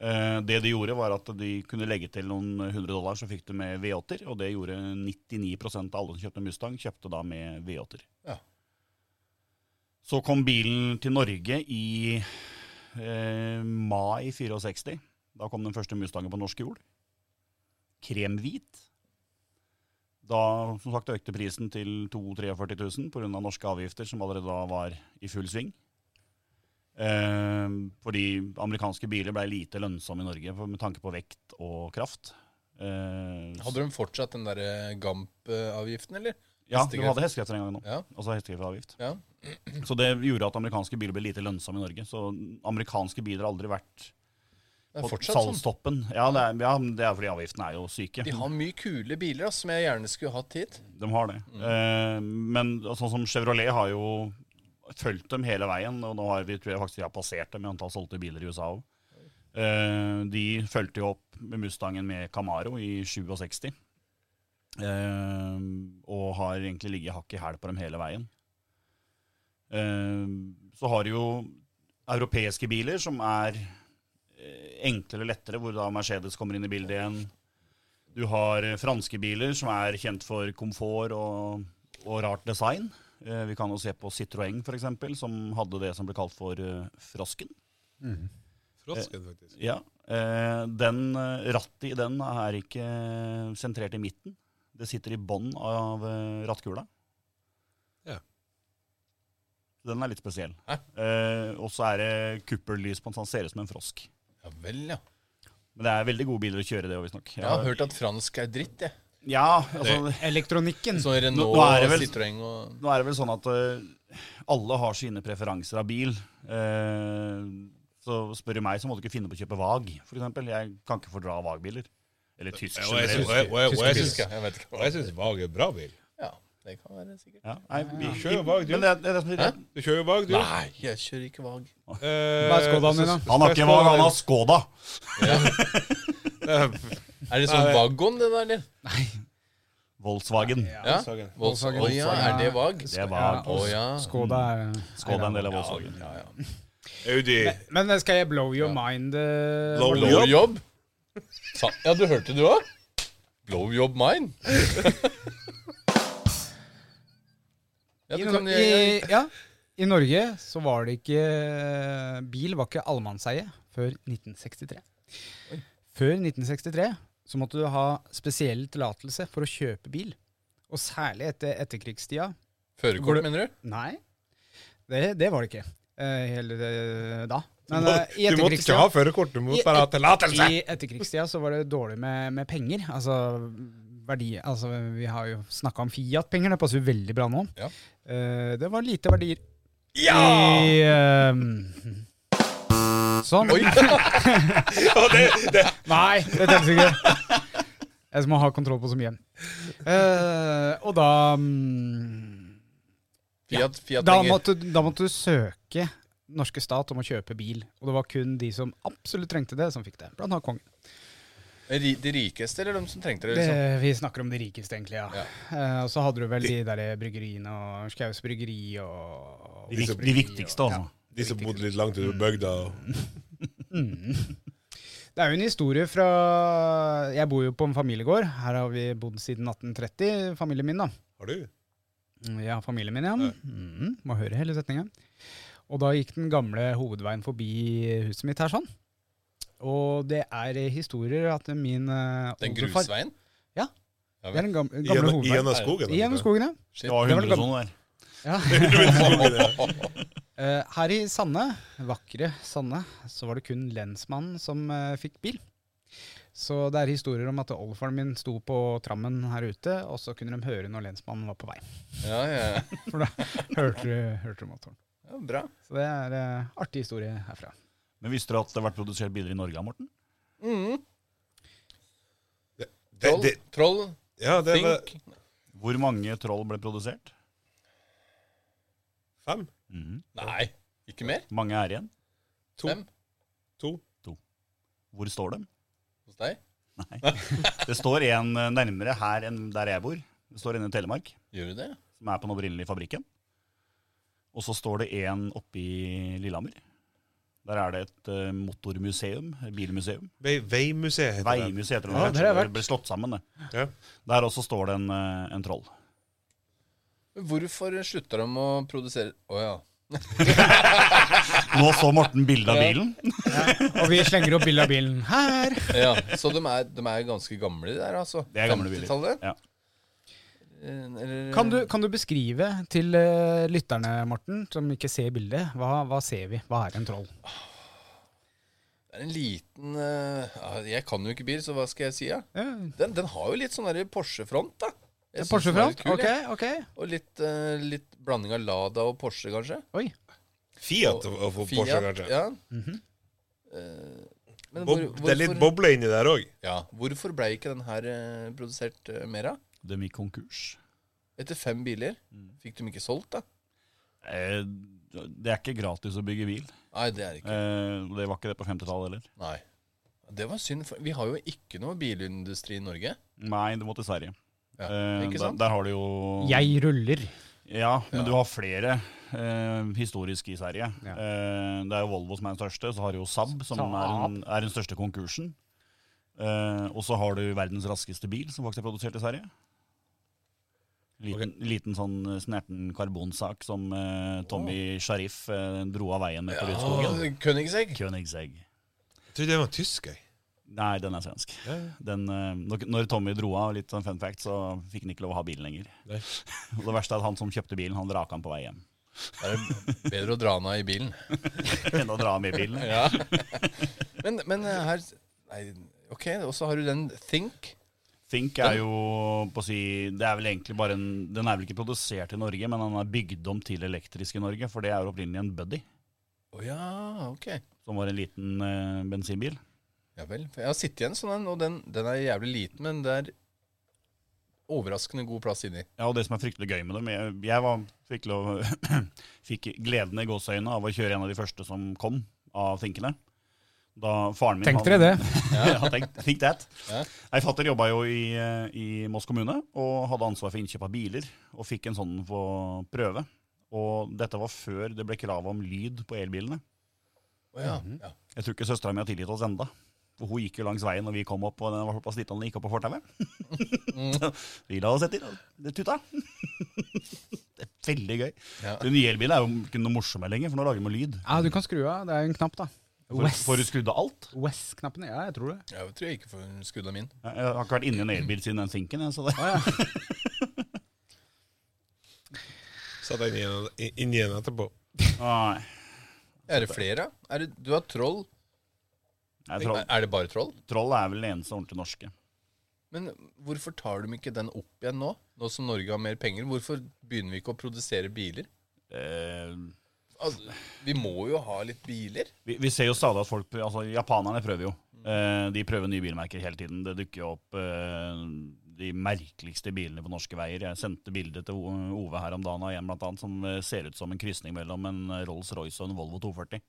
Eh, det de gjorde, var at de kunne legge til noen hundre dollar, så fikk du med V8-er. Og det gjorde 99 av alle som kjøpte Mustang, kjøpte da med V8-er.
Ja.
Så kom bilen til Norge i eh, mai 64. Da kom den første Mustangen på norsk jord. Kremhvit. Da som sagt, økte prisen til 42 000-43 000 pga. norske avgifter, som allerede da var i full sving. Eh, fordi amerikanske biler ble lite lønnsomme i Norge for- med tanke på vekt og kraft. Eh,
Hadde de fortsatt den der eh, Gamp-avgiften, eller?
ja, du hadde hestekrefter en gang nå.
Ja.
Altså hestekreftavgift.
Ja.
Så det gjorde at amerikanske biler ble lite lønnsomme i Norge. Så amerikanske biler har aldri vært
Det
på
er fortsatt sånn.
salgstoppen. Ja, det er, ja, men det er fordi avgiftene er jo syke.
De har mye kule biler ass, som jeg gjerne skulle hatt hit.
De har det. Eh, men sånn som Chevrolet har jo fulgt dem hele veien, og nå har vi, tror jeg faktisk de har passert dem i antall solgte biler i USA òg. de fulgte jo opp med Mustangen med Camaro i 67, eh, og har egentlig ligget hakk i hæl på dem hele veien. Eh, så har du jo europeiske biler som er eh, enklere og lettere, hvor da Mercedes kommer inn i bildet igjen. Du har eh, franske biler som er kjent for komfort og, og rart design. Eh, Vi kan jo se på Citroën f.eks., som hadde det som ble kalt for eh, frosken.
Frosken, faktisk.
Ja, eh, den, eh, Rattet i den er ikke sentrert i midten. Det sitter i bånn av eh, rattkula.
Ja.
Den er litt spesiell.
Hæ?
Eh, og så er det kuppellys på den, så den ser ut som en frosk.
Ja vel, ja.
Men det er veldig gode biler å kjøre det òg, visstnok.
Jeg har hørt at fransk er dritt, jeg.
Ja, altså,
Elektronikken.
Sånn Renault
nå er
og
det vel-
Citroën og
Nå er det vel sånn at eh, alle har sine preferanser av bil. Eh, så spør du meg, så må du ikke finne på å kjøpe Vag, f.eks. Jeg kan ikke fordra Vag-biler. Eller tysk
Og jeg syns-
generelt.
og jeg- og jeg- og jeg syns-
Tysk, ja. Jeg vet ikke
og
hva
jeg syns Vag er bra bil.
Ja, det kan være sikkert.
Ja, nei, vi,
Du kjører jo Vag, du.
Men det, er- det er det som sier
Hæ?
Du kjører jo Vag, du.
Nei, jeg kjører ikke Vag.
Eh,
Hva er Skodaen din, da?
så- så-
Han har ikke Vag, han har
altså.
Skoda.
Er det sånn Vagon, det der, eller?
Volkswagen.
Ja.
Volkswagen.
Volkswagen. Å ja,
Volkswagen.
er det Vag?
Det er Vag.
Å ja.
Skoda er
Skoda er en del av Volkswagen.
Ja, ja.
Eh, Audi.
Mm. Men eh, skal jeg blow your mind? eh,
Blow
Morten?
your-
Blowjob? Sa- Ja, du hørte du òg? Blowjob mine? ja,
I,
du kan, eh,
I, ja, I Norge så var det ikke Bil var ikke allemannseie før 1963. Før 1963 så måtte du ha spesiell tillatelse for å kjøpe bil. Og særlig etter etterkrigstida.
Førerkort, mener du?
Nei, det, det var det ikke eh, hele eh, da. Men eh, i
Du måtte ikke
etterkrigstida-
ha førerkort, du måtte bare ha tillatelse!
i etterkrigstida så var det dårlig med, med penger. Altså, verdi, altså Vi har jo snakka om Fiat-penger, det passer jo veldig bra nå.
Ja.
Eh, det var lite verdier. I, eh, sånn. (laughs)
Oi!
Nei, det tenkes ikke. Jeg må ha kontroll på så mye. Eh, og da mm,
Fiat, Fiat
da
penger.
måtte, da måtte du søke norske stat om å kjøpe bil. Og det var kun de som absolutt trengte det, som fikk det. Blant annet kongen.
Ri- De rikeste, eller de som trengte det? liksom?
Det, vi snakker om de rikeste, egentlig. ja.
Ja.
Eh, og så hadde du vel de der bryggeriene og Skaus bryggeri og
De, vik- de viktigste, altså.
De som bodde litt langt ute på bygda. og-
Mm. (laughs) Det er jo en historie fra Jeg bor jo på en familiegård. Her har vi bodd siden 1830, familien min, da.
Har du?
Ja, familien min, ja. Mm, må høre hele setninga. Og da gikk den gamle hovedveien forbi huset mitt her, sånn. Og det er historier at min eh,
Den
oldefar-
grusveien?
Ja. Det er den gamle, gamle
Gjennom
hovedveien.
gjennom skogen.
Gjennom
(laughs)
skogen, ja.
Det var
Det var det
100 sånn der.
ja.
(laughs)
Eh, her i Sande, vakre Sande, så var det kun lensmannen som eh, fikk bil. Så det er historier om at oldefaren min sto på trammen her ute, og så kunne de høre når lensmannen var på vei.
Ja, ja, ja.
For da (laughs) hørte du, hørte du motoren.
ja bra.
Så det er eh, artig historie herfra.
Men visste du at det har vært produsert biler i Norge, Morten?
Det,
Troll,
det,
troll
ja, det var
think.
Hvor mange troll ble produsert?
fem.
Mhm.
Nei, ikke mer?
Mange er igjen.
To.
Fem
to.
Hvor står de?
hos deg?
Det står en eh, nærmere her enn der jeg bor. Det står inne i Telemark,
Gjør du det?
som er på den opprinnelige fabrikken. Og så står det en oppe i Lillehammer. Der er det et eh, motormuseum, et bilmuseum.
Vei, veimuseet heter det.
Veimuseet heter det.
Ja,
kanskje.
der har jeg vært.
ble slått sammen, det.
Ja.
Der også står det en, eh, en troll.
Hvorfor slutter de å produsere Å ja.
Nå så Morten bilde av
Ja.
bilen.
Og vi slenger opp bilde av bilen her.
ja. Så de er, de er ganske gamle, de der, altså?
Det er gamle biler.
50-tallet?
Ja.
Eller-
Kan du, kan du beskrive til eh, lytterne, Morten, som ikke ser bildet, hva, hva ser vi? Hva er en troll?
Det er en liten eh, ja, Jeg kan jo ikke bil, så hva skal jeg si? Ja?
Ja,
Den, den har jo litt sånn der Porsche-front, da. Jeg synes den er
Porsche-front?
litt kul,
Ok,
jeg.
ok.
Og litt, eh, litt blanding av Lada og Porsche, kanskje.
Oi.
Fiat og, og
Fiat,
Porsche, kanskje.
Ja.
Mhm.
Eh, men
Bob,
hvor,
det er litt
hvorfor-
boble inni der òg.
Ja, Hvorfor ble ikke den her eh, produsert eh, mer av?
De gikk konkurs.
Etter fem biler
Mm.
fikk de ikke solgt, da?
Eh, Det er ikke gratis å bygge bil.
Nei, det er ikke
Eh, Det var ikke det på 50-tallet heller.
Nei. Det var synd, for vi har jo ikke noe bilindustri i Norge.
Nei, det må til Sverige.
Ja,
Eh, der,
ikke sant?
der har du jo
Jeg ruller.
Ja, men
Ja.
du har flere eh, historiske i Sverige.
Ja.
Eh, det er jo Volvo som er den største, så har du jo Saab, som
Saab.
er, den- er den største konkursen. Eh, og så har du verdens raskeste bil, som faktisk er produsert i Sverige. Liten, liten sånn eh, snerten karbonsak som eh, Tommy Sharif eh, dro av veien med på Rudskogen.
Åh, Koenigsegg.
Königsegg.
Jeg trodde det var tysk. Jeg.
Nei, den er svensk. Den, eh, når- når Tommy dro av, litt sånn fun fact, så fikk han ikke lov å ha bilen lenger.
Nei.
(laughs) Og det verste er at han som kjøpte bilen, han raka den på vei hjem. (laughs)
Det er bedre å dra den av i bilen.
Enn å dra med bilen.
Ja. men, men eh, her Nei, OK, og så har du den Think.
Think er jo på å si Det er vel egentlig bare en Den er vel ikke produsert i Norge, men den er bygd om til elektrisk i Norge. For det er jo opprinnelig en Buddy,
Å ja, OK.
som var en liten eh, bensinbil.
Ja vel. For jeg har sittet i en sånn en, og den, den er jævlig liten, men det er overraskende god plass inni.
Ja, og det som er fryktelig gøy med dem Jeg, jeg var fryktelig og- (clears throat) fikk gleden i gåseøynene av å kjøre en av de første som kom av Thinkene. Da faren min
Tenk dere det.
ja, tenk, think that.
Ja.
Nei, fatter jobba jo i, eh, i Moss kommune og hadde ansvar for innkjøp av biler, og fikk en sånn på prøve. Og dette var før det ble krav om lyd på elbilene.
Å ja. ja.
Jeg tror ikke søstera mi har tilgitt oss enda. For hun gikk jo langs veien når vi kom opp, og den var såpass liten at den gikk opp på fortauet.
Mm.
(laughs) vi la oss etter, og det
(laughs)
tuta. det er veldig gøy.
Ja.
Den nye elbilen er jo ikke noe morsommere lenger, for nå lager de lyd.
Ja, du kan skru av. Det er jo en knapp, da.
For, for du skrudd av alt.
West-knappen. Ja, jeg tror det.
Jeg tror jeg ikke får skudd av min.
Jeg jeg har ikke vært inni en elbil siden den sinken. jeg, Så det.
Satt jeg inni en- i- inni en etterpå.
Nei,
Er det flere? Er det, du har troll.
Nei,
Er,
troll,
er det bare troll?
troll er vel den eneste ordentlig norske.
Men hvorfor tar de ikke den opp igjen nå? Nå som Norge har mer penger, hvorfor begynner vi ikke å produsere biler?
Eh,
Altså, vi må jo ha litt biler.
vi, vi ser jo stadig at folk, altså japanerne prøver jo. Eh, de prøver nye bilmerker hele tiden. Det dukker jo opp eh, de merkeligste bilene på norske veier. Jeg sendte bilde til O- Ove her om dagen av en blant annet som eh, ser ut som en krysning mellom en eh, Rolls-Royce og en Volvo 240.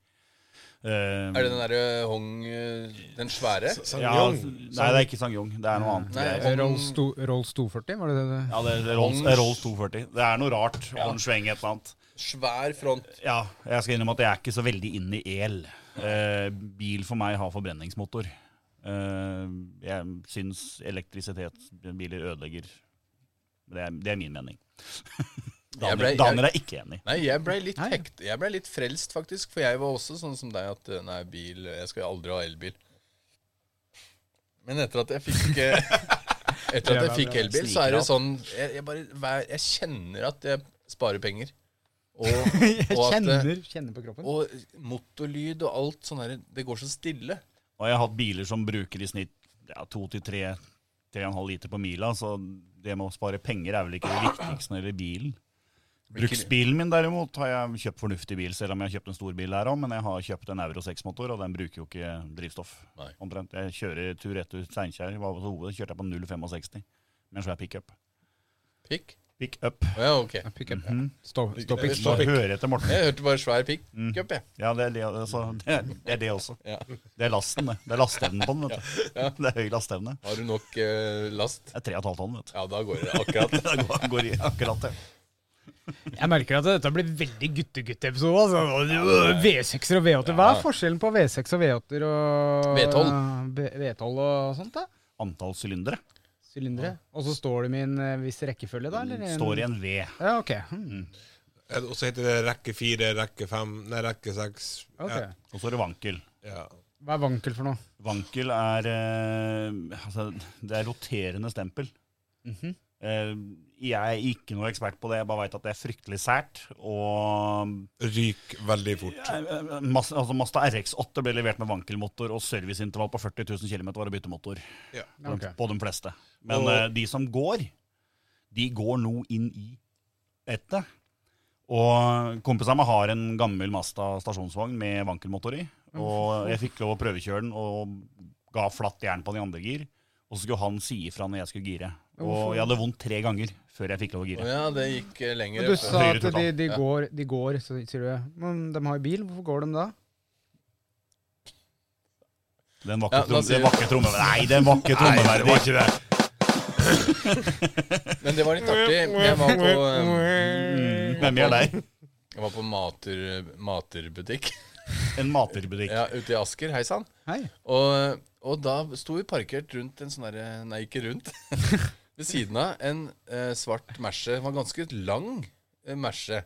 Eh,
Er det den derre Hong eh, Den svære?
Sang
ja, altså,
Yong.
altså-
Nei, det er ikke Sang-Yong. Det er noe annet.
Nei,
Det er-
Hong-
Rolls, to, Rolls 240, var det det? det?
ja, det er Rolls,
Hong-
Rolls 240. Det er noe rart. Ja. Sveng et eller annet.
Svær front.
Ja, jeg skal innrømme at jeg er ikke så veldig inn i el. Eh, bil for meg har forbrenningsmotor. Eh, jeg syns elektrisitetsbiler ødelegger. Det er, det er min mening.
Jeg
Daniel,
ble- jeg-
Daniel er ikke enig.
Nei, jeg blei litt,
Nei.
hekt- jeg ble litt frelst, faktisk. For jeg var også sånn som deg at eh, nei, bil Jeg skal aldri ha elbil. Men etter at jeg fikk eh, (laughs) Etter at jeg
Jævla
fikk
bra.
elbil, så er det sånn Jeg, jeg, bare, hver- jeg kjenner at jeg sparer penger.
(laughs)
Og,
(laughs) Jeg
og at det-
kjenner, kjenner på kroppen.
og motorlyd og alt sånn her Det går så stille.
Og jeg har hatt biler som bruker i snitt ja, to til tre, tre og en halv liter på mila, så det med å spare penger er vel ikke det viktigste når det gjelder bilen. Bruksbilen min derimot har jeg kjøpt fornuftig bil, selv om jeg har kjøpt en stor bil her òg, men jeg har kjøpt en Euro 6-motor, og den bruker jo ikke drivstoff.
Nei.
Omtrent. Jeg kjører tur-retur Steinkjer, var på hovedet, kjørte jeg på 0,65 med en svær pickup.
Pikk?
Pickup.
Å ja, ok.
Pick
Mhm.
up. Stå- stå
Pick-
pick.
Stå og hør etter Morten.
Jeg hørte bare svær pikk.
Mm.
Cup, jeg.
Ja, det er det, altså, det, er, det er det også.
Ja.
Det er lasten, det. Det er lasteevnen på den. vet du. (laughs) Det er høy lasteevne.
Har du nok eh, last?
Det er 3,5 tonn, vet du.
Ja, da går det
(laughs)
(laughs)
akkurat.
Det går, går i akkurat det.
Jeg merker at dette blir veldig gutte-gutte-episode. Altså. V6-er og V8-er. Hva er forskjellen på V6 og V8-er og
V12.
B- V12 og sånt? da?
Antall sylindere
Sylindere. Og så står de i en eh, viss rekkefølge, da? Eller?
Mm, står i en V.
Ja, ok. Hmm.
Eh, Og så heter det rekke fire, rekke fem, nei, rekke seks.
ok.
Ja,
Og så er det vankel.
ja.
Hva er vankel for noe?
Vankel er eh, altså, Det er roterende stempel.
Mhm.
Eh, jeg er ikke noe ekspert på det, jeg bare veit at det er fryktelig sært. Og
Ryk veldig fort.
ja, eh, Mas- altså, Mazda RX8 ble levert med vankelmotor og serviceintervall på 40 000 km var å bytte motor.
Ja.
På,
Ok.
på de fleste. Men
Og-
eh, de som går, de går nå inn i etter. Og kompisen min har en gammel Mazda stasjonsvogn med vankelmotor i. Og jeg fikk lov å prøvekjøre den og ga flatt jern på den i andre gir. Og så skulle han si ifra når jeg skulle gire. Og jeg hadde vondt tre ganger før jeg fikk lov å
Å
gire.
ja, det gikk eh, lenger.
Men du sa
Høyre
at de,
tutan.
de, går, de går, så sier du Men de har jo bil, hvorfor går de da?
Den
Ja,
vakre,
la
trom
oss si
den
det.
vakre tromme... Nei, den vakre trommeverden.
Men det var litt artig. Jeg var på, eh,
Mm, Hvem gjør deg?
jeg var på mater, materbutikk
En materbutikk.
ja, ute i Asker. Hei sann.
Hei.
Og, og da sto vi parkert rundt en sånn derre Nei, ikke rundt. (laughs) Ved siden av en eh, svart Merce. Den var ganske lang eh, Merce.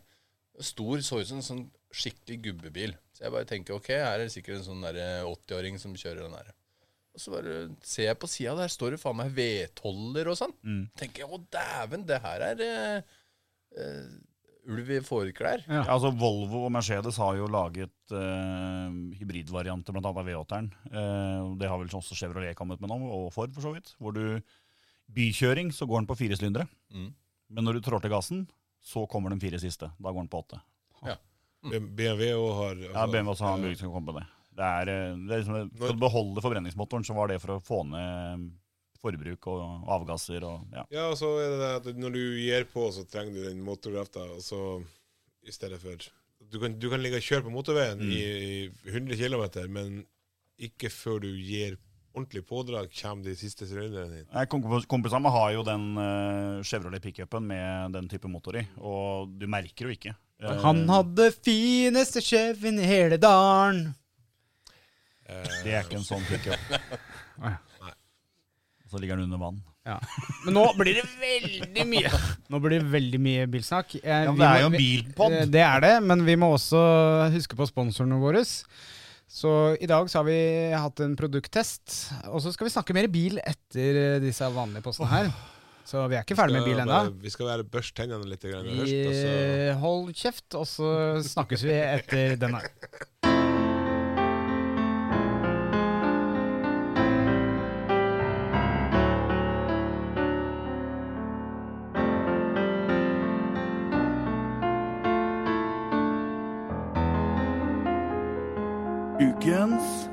Stor, så ut som en sånn skikkelig gubbebil. Så jeg bare tenker ok, her er det sikkert en sånn derre 80-åring som kjører den her. Og så bare ser jeg på sida, der står det faen meg vedtoller og sånn. Tenker jeg å dæven, det her er eh, eh, ulv i fårklær.
Ja, altså Volvo og Mercedes har jo laget eh, hybridvarianter, bl.a. av V8-eren. Eh, det har vel også Chevrolet kommet med nå, og Ford for så vidt. Hvor du bykjøring, så går den på fire sylindere.
Mm.
Men når du trår til gassen, så kommer den fire siste. Da går den på åtte.
BMW også har
Ja,
altså,
BMW også har en mulighet til å komme på det. Det er, eh, det er liksom, Skal du beholde forbrenningsmotoren, så var det for å få ned eh, forbruk og avgasser og ja.
Ja, og så er det det at når du gir på, så trenger du den motorkrafta, og så i stedet for Du kan, du kan ligge og kjøre på motorveien
Mm.
i, i 100 km, men ikke før du gir ordentlig pådrag, kommer de siste sylinderne inn.
Nei, kompis- Kompisene mine har jo den eh, Chevrolet pickupen med den type motor i, og du merker jo ikke. Eh,
Han hadde fineste kjeven i hele dalen.
Det er ikke en sånn
(laughs)
pickup.
Nei.
Så ligger den under vann.
Ja. Men nå blir det veldig mye (laughs) Nå blir det veldig mye bilsnakk. Eh,
Ja, men
vi
det er
må-
jo en
vi-
bilpod.
Eh, Det er det, men vi må også huske på sponsorene våre. Så i dag så har vi hatt en produkttest, og så skal vi snakke mer bil etter eh, disse vanlige postene her. Så vi er ikke ferdig med bil
Skal
ennå.
bare- Vi skal bare børste tennene litt grann først, og så
Vi- Hold kjeft, og så snakkes vi etter denne.
Ukens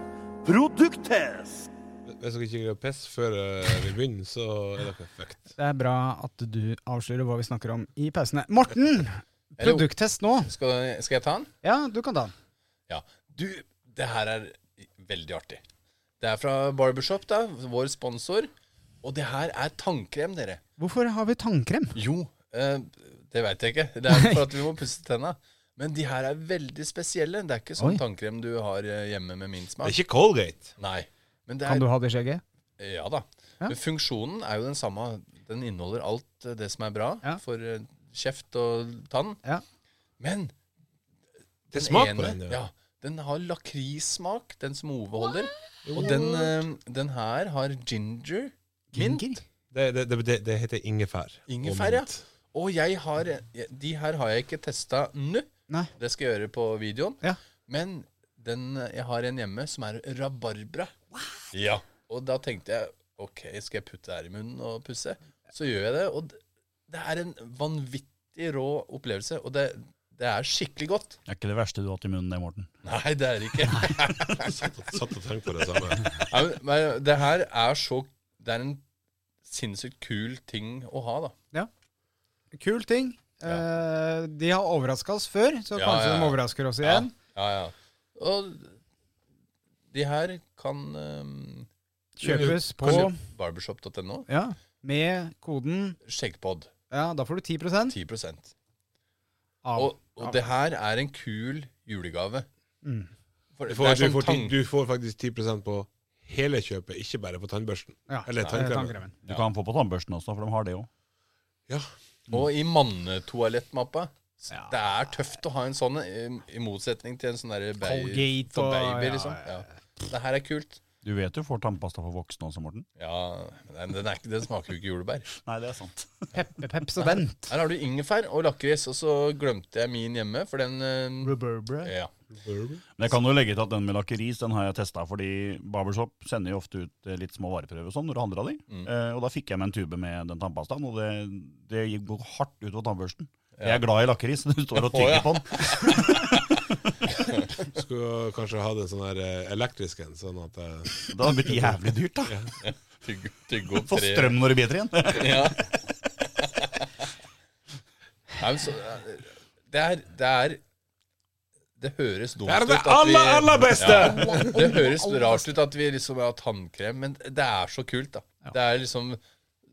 produkttest.
Hvis dere ikke greier å pisse før eh, vi begynner, så er det perfekt.
Det er bra at du avslører hva vi snakker om i pausene. Morten!
Hello.
Produkttest nå.
Skal, skal jeg ta den?
Ja, du kan ta den.
Ja. Du, det her er veldig artig. Det er fra Barbershop, da, vår sponsor. Og det her er tannkrem, dere.
Hvorfor har vi tannkrem?
Jo, eh, det veit jeg ikke.
(laughs)
Det er for at vi må pusse tenna. Men de her er veldig spesielle. Det er ikke sånn
Oi.
tannkrem du har eh, hjemme med min
Det er
smak.
ikke Colgate.
Nei. Men det
Kan
er,
du ha det i skjegget?
ja da.
Ja.
Men funksjonen er jo den samme. Den inneholder alt eh, det som er bra
Ja.
for eh, kjeft og tann.
Ja.
Men
Det
den
smaker på
ene-
den.
Ja, den har lakrissmak, ehm, den som Ove holder. Og den, eh, den her har ginger mint.
Ginger?
Det, det, det, det heter ingefær. og
Ingefær, ja.
mint.
Og jeg har De her har jeg ikke testa nå.
Nei.
Det skal jeg gjøre på videoen.
Ja.
Men den jeg har en hjemme som er rabarbra. Ja. Og da tenkte jeg OK, skal jeg putte det her i munnen og pusse? Så gjør jeg det, og d- det er en vanvittig rå opplevelse. Og det, det er skikkelig godt.
Det er ikke det verste du har hatt i munnen, det, Morten.
Nei, det er det ikke.
(laughs)
Satt, og- satt og tenkte på det samme.
Nei, men- men det her er så Det er en sinnssykt kul ting å ha, da.
Kul ting. Eh, de har overraska oss før, så
Ja,
kanskje
ja,
de
ja.
overrasker oss igjen.
Ja, ja. Og de her kan ehm,
Kjøpes på
Kanskje barbershop.no.
ja, med koden
Skjeggpod.
Ja, da får du 10
10 Og,
av
og det her er en kul julegave.
Mm.
For,
Du
det
får,
er
du,
sånn
får, ti-
tank-
du får faktisk 10 på hele kjøpet, ikke bare på tannbørsten.
ja,
eller
eh,
tannkremen.
Du kan få på tannbørsten også, for de har det òg.
Og i mannetoalettmappa. Så Det er tøft å ha en sånn, i, i motsetning til en sånn derre ba-
Colgate
for
og-
baby,
ja,
liksom.
ja,
Ja. Det her er kult.
Du vet du får tannpasta for voksne også, Morten.
Ja, men den, er ikke, den smaker jo ikke jordbær.
Nei, det er sant.
Pep, Peps og
(laughs)
Vent.
Her har du ingefær og lakris, og så glemte jeg min hjemme, for den eh, Ja.
Men jeg kan jo legge til at den med lakris den har jeg testa, fordi Barbershop sender jo ofte ut eh, litt små vareprøver og sånn når du handler av de.
Mm.
Eh, og da fikk jeg meg en tube med den tannpastaen, og det, det gikk går hardt utover tannbørsten. Jeg er glad i lakris, du står og
Å,
tygger
ja.
på den.
Skulle kanskje hatt en sånn her eh, elektrisk en, sånn at eh,
Det hadde blitt jævlig dyrt, da.
Tygge tygge opp
Få
tre-
strøm når du biter igjen.
(laughs) Ja. Nei, men så, eh, det er Det er det høres dumt
Det er
ut
det
at vi-
aller, aller beste!
Ja, det høres rart ut at vi liksom har tannkrem, men det er så kult, da. Det er liksom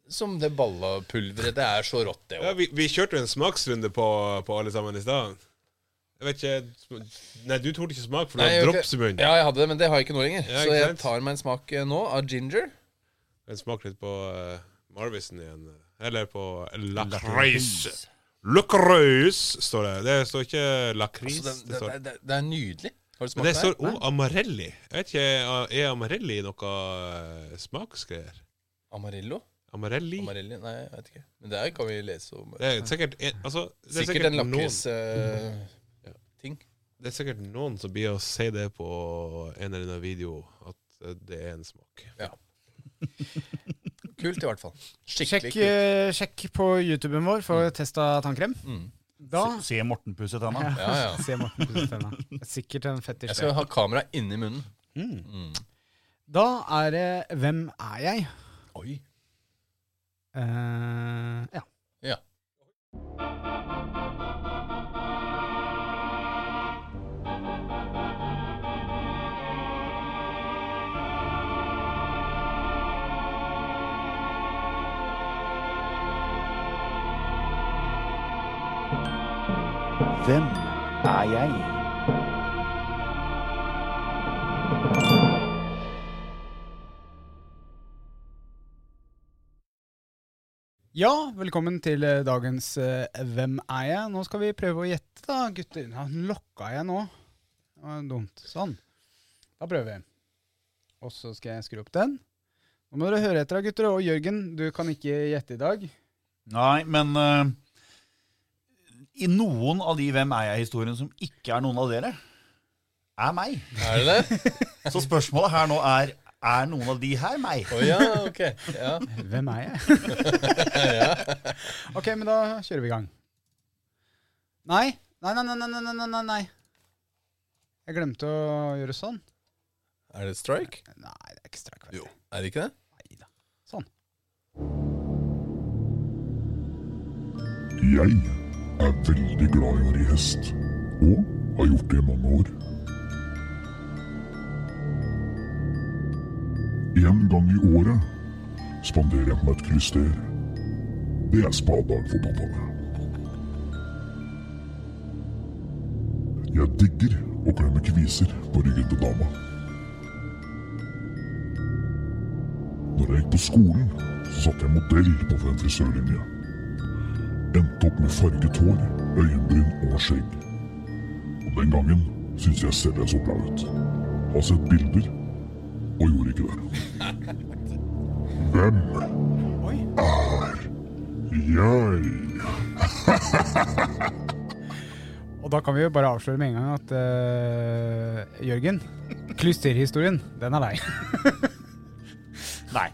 som det ballapulveret. Det er så rått, det
Ja,
òg.
vi, vi kjørte jo en smaksrunde på, på alle sammen i stad. Jeg vet ikke Nei, du torde ikke smake, for du har drops i munnen.
Ja, jeg hadde det, men det har jeg ikke nå lenger.
Ja,
så
ikke
jeg
sant?
tar meg en smak eh, nå av ginger.
Jeg smaker litt på eh, Marvisen igjen. eh, Eller på lakris. Lakris står det. Det står ikke lakris.
Altså, det,
det
det,
står
det, det, det er nydelig. Har du
Men
smakt
det
det?
står
her?
òg amarelli. Jeg vet ikke, Er amarelli noe eh, smaksgreier?
Amarillo?
Amarelli?
Amarelli? Nei, jeg vet ikke. Men det her kan vi lese om.
Det er sikkert en, altså, det er
Sikkert,
sikkert,
en eh,
noen,
lakris-ting.
det er sikkert noen som blir å si det på en eller annen video, at eh, det er en smak.
ja. Kult, i hvert fall. Skikkelig
Sjekk,
kult.
eh, sjekk på YouTuben vår for test av tannkrem.
Mm.
Da
Se se Morten pusse tenna.
Ja, ja.
Se Morten pusse tenna. Sikkert en fetisj.
Jeg skal ha kamera inni munnen.
Da er det Hvem er jeg?
Oi.
Eh, ja.
Ja.
Hvem er jeg?
ja, velkommen til eh, dagens eh, Hvem er jeg? Nå skal vi prøve å gjette, da, gutter. Ja, den lokka jeg nå. Det var dumt. Sånn. Da prøver vi. Og så skal jeg skru opp den. Nå må dere høre etter, da, gutter. Og Jørgen, du kan ikke gjette i dag.
Nei, men eh, i noen av de Hvem er jeg-historiene som ikke er noen av dere, er meg.
Er det det?
Så spørsmålet her nå er er noen av de her meg?
Å ja, ok. Ja.
Hvem er jeg? (laughs) ok, men da kjører vi i gang. Nei. Nei, nei, nei, nei, nei, nei, nei, nei. Jeg glemte å gjøre sånn.
Er det strike?
Nei, det er ikke strakk.
Jo. Er det ikke det?
Sånn.
Jeg er veldig glad i å ri hest, og har gjort det i mange år. En gang i året spanderer jeg på meg et klyster. Det er spadag for pappaene. Jeg digger å klemme kviser på ryggen på dama. Når jeg gikk på skolen, så satt jeg modell på en frisørlinje endte opp med farget hår, øyenbryn og skjegg. Og den gangen syntes jeg selv jeg så bra ut. Har sett bilder og gjorde ikke det. Hvem Jeg
Og da kan vi jo bare avsløre med en gang at eh, Jørgen, klysterhistorien, den er deg.
Nei.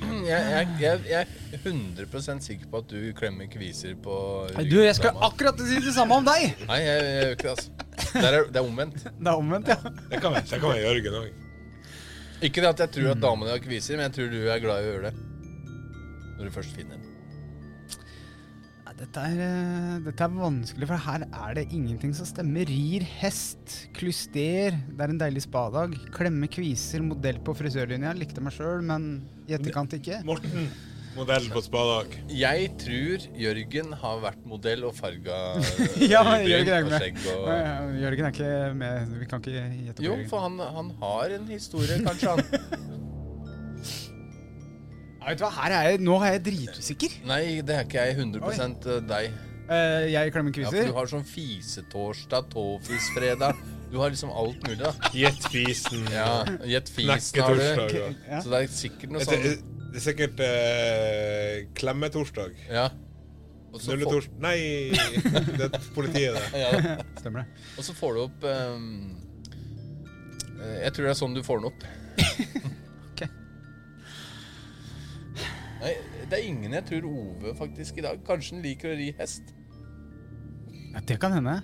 Mm, Jeg, jeg, jeg, jeg er 100 sikker på at du klemmer kviser på
Du, jeg skal akkurat si det samme om deg!
Nei, jeg, jeg gjør ikke det, altså. Der er, det er omvendt.
Det er omvendt, ja.
Det kan være, det kan være Jørgen òg.
Ikke det at jeg
Mm.
tror at damene har kviser, men jeg tror du er glad i å gjøre det. Når du først finner den.
Nei, Dette er, eh, dette er vanskelig, for her er det ingenting som stemmer. Rir hest, klyster, det er en deilig spadag. Klemme kviser, modell på frisørlinja. Likte meg sjøl, men i etterkant ikke.
Morten, modell på spadag.
Jeg tror Jørgen har vært modell og farga
(laughs) (laughs) Ja,
øyebryn
Jørgen er
og
med.
skjegg og
Nei, Jørgen er ikke med. Vi kan ikke gjette på
Jo,
Jørgen.
for han, han har en historie, kanskje
(laughs)
han.
Ja, vet du hva, her er jeg, Nå er jeg dritusikker.
Nei, det er ikke jeg. 100 deg.
Eh, jeg klemmer
Ja, for
kviser.
du har sånn fisetorsdag, tåfisfredag. Du har liksom alt mulig, da.
Gjett fisen.
Ja, Gjett fisen har du.
Knekketorsdag. og-
Ja.
Så det er sikkert noe sånn-
Det er,
sånt.
det er sikkert eh, klemmetorsdag.
Ja. Og så får,
Nulletorsdag Nei, det er politiet, det.
ja. da.
Stemmer det.
Og så får du opp ehm, eh, Jeg tror det er sånn du får den opp.
(laughs) Ok.
Nei, det er ingen jeg tror Ove faktisk i dag. Kanskje han liker å ri hest.
Ja, det kan hende.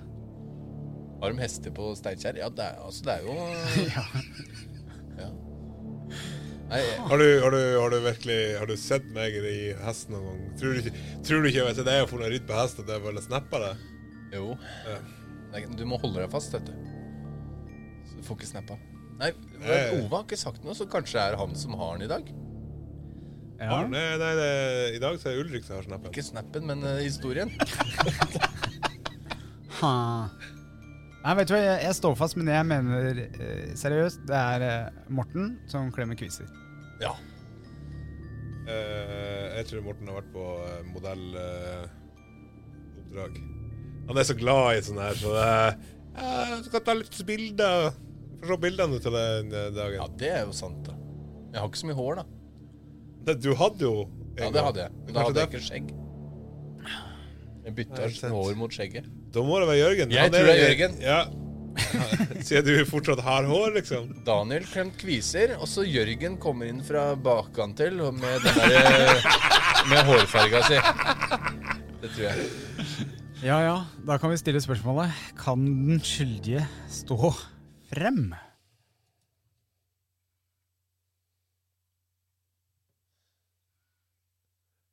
Har de hester på Steinkjer? Ja, det er, altså, det er jo
(laughs) Ja.
ja. Nei, eh,
Har du, har, du, har du virkelig Har du sett meg i hesten noen gang? Tror du ikke, tror du ikke jeg vet det er for noe ridd på hest at jeg bare snapper det?
jo.
Ja.
Nei, Du må holde deg fast, vet du. Så du får ikke snappa. Nei, men
Nei.
Ove har ikke sagt noe, så kanskje det er han som har den i dag.
Ja.
Nei, nei, det, i dag så er det Ulrik som har snappen.
Ikke snappen, men eh, historien.
Ha. Nei, vet du hva, jeg, jeg står fast, men jeg mener eh, seriøst, det er eh, Morten som klemmer kviser.
Ja.
Eh, jeg tror Morten har vært på eh, modelloppdrag. Han er så glad i sånn her, så det er «Ja, Jeg skal ta litt bilder. Få se bildene til den eh,
ja,
dagen.
det er jo sant, da. Jeg har ikke så mye hår, da.
Det- Du hadde jo en
Ja, det
gang.
hadde jeg. Men da
Kanskje
hadde jeg
det-
ikke skjegg. Jeg
Nei,
bytta
ikke sant.
hår mot skjegget.
Da må det være Jørgen.
Jeg
Han
tror det er Jørgen.
Ja. (laughs) Siden du fortsatt har hår, liksom.
Daniel klemt kviser, og så Jørgen kommer inn fra bakkant til og med den der eh, Med hårfarga si. Det tror jeg.
Ja ja, da kan vi stille spørsmålet Kan den skyldige stå frem?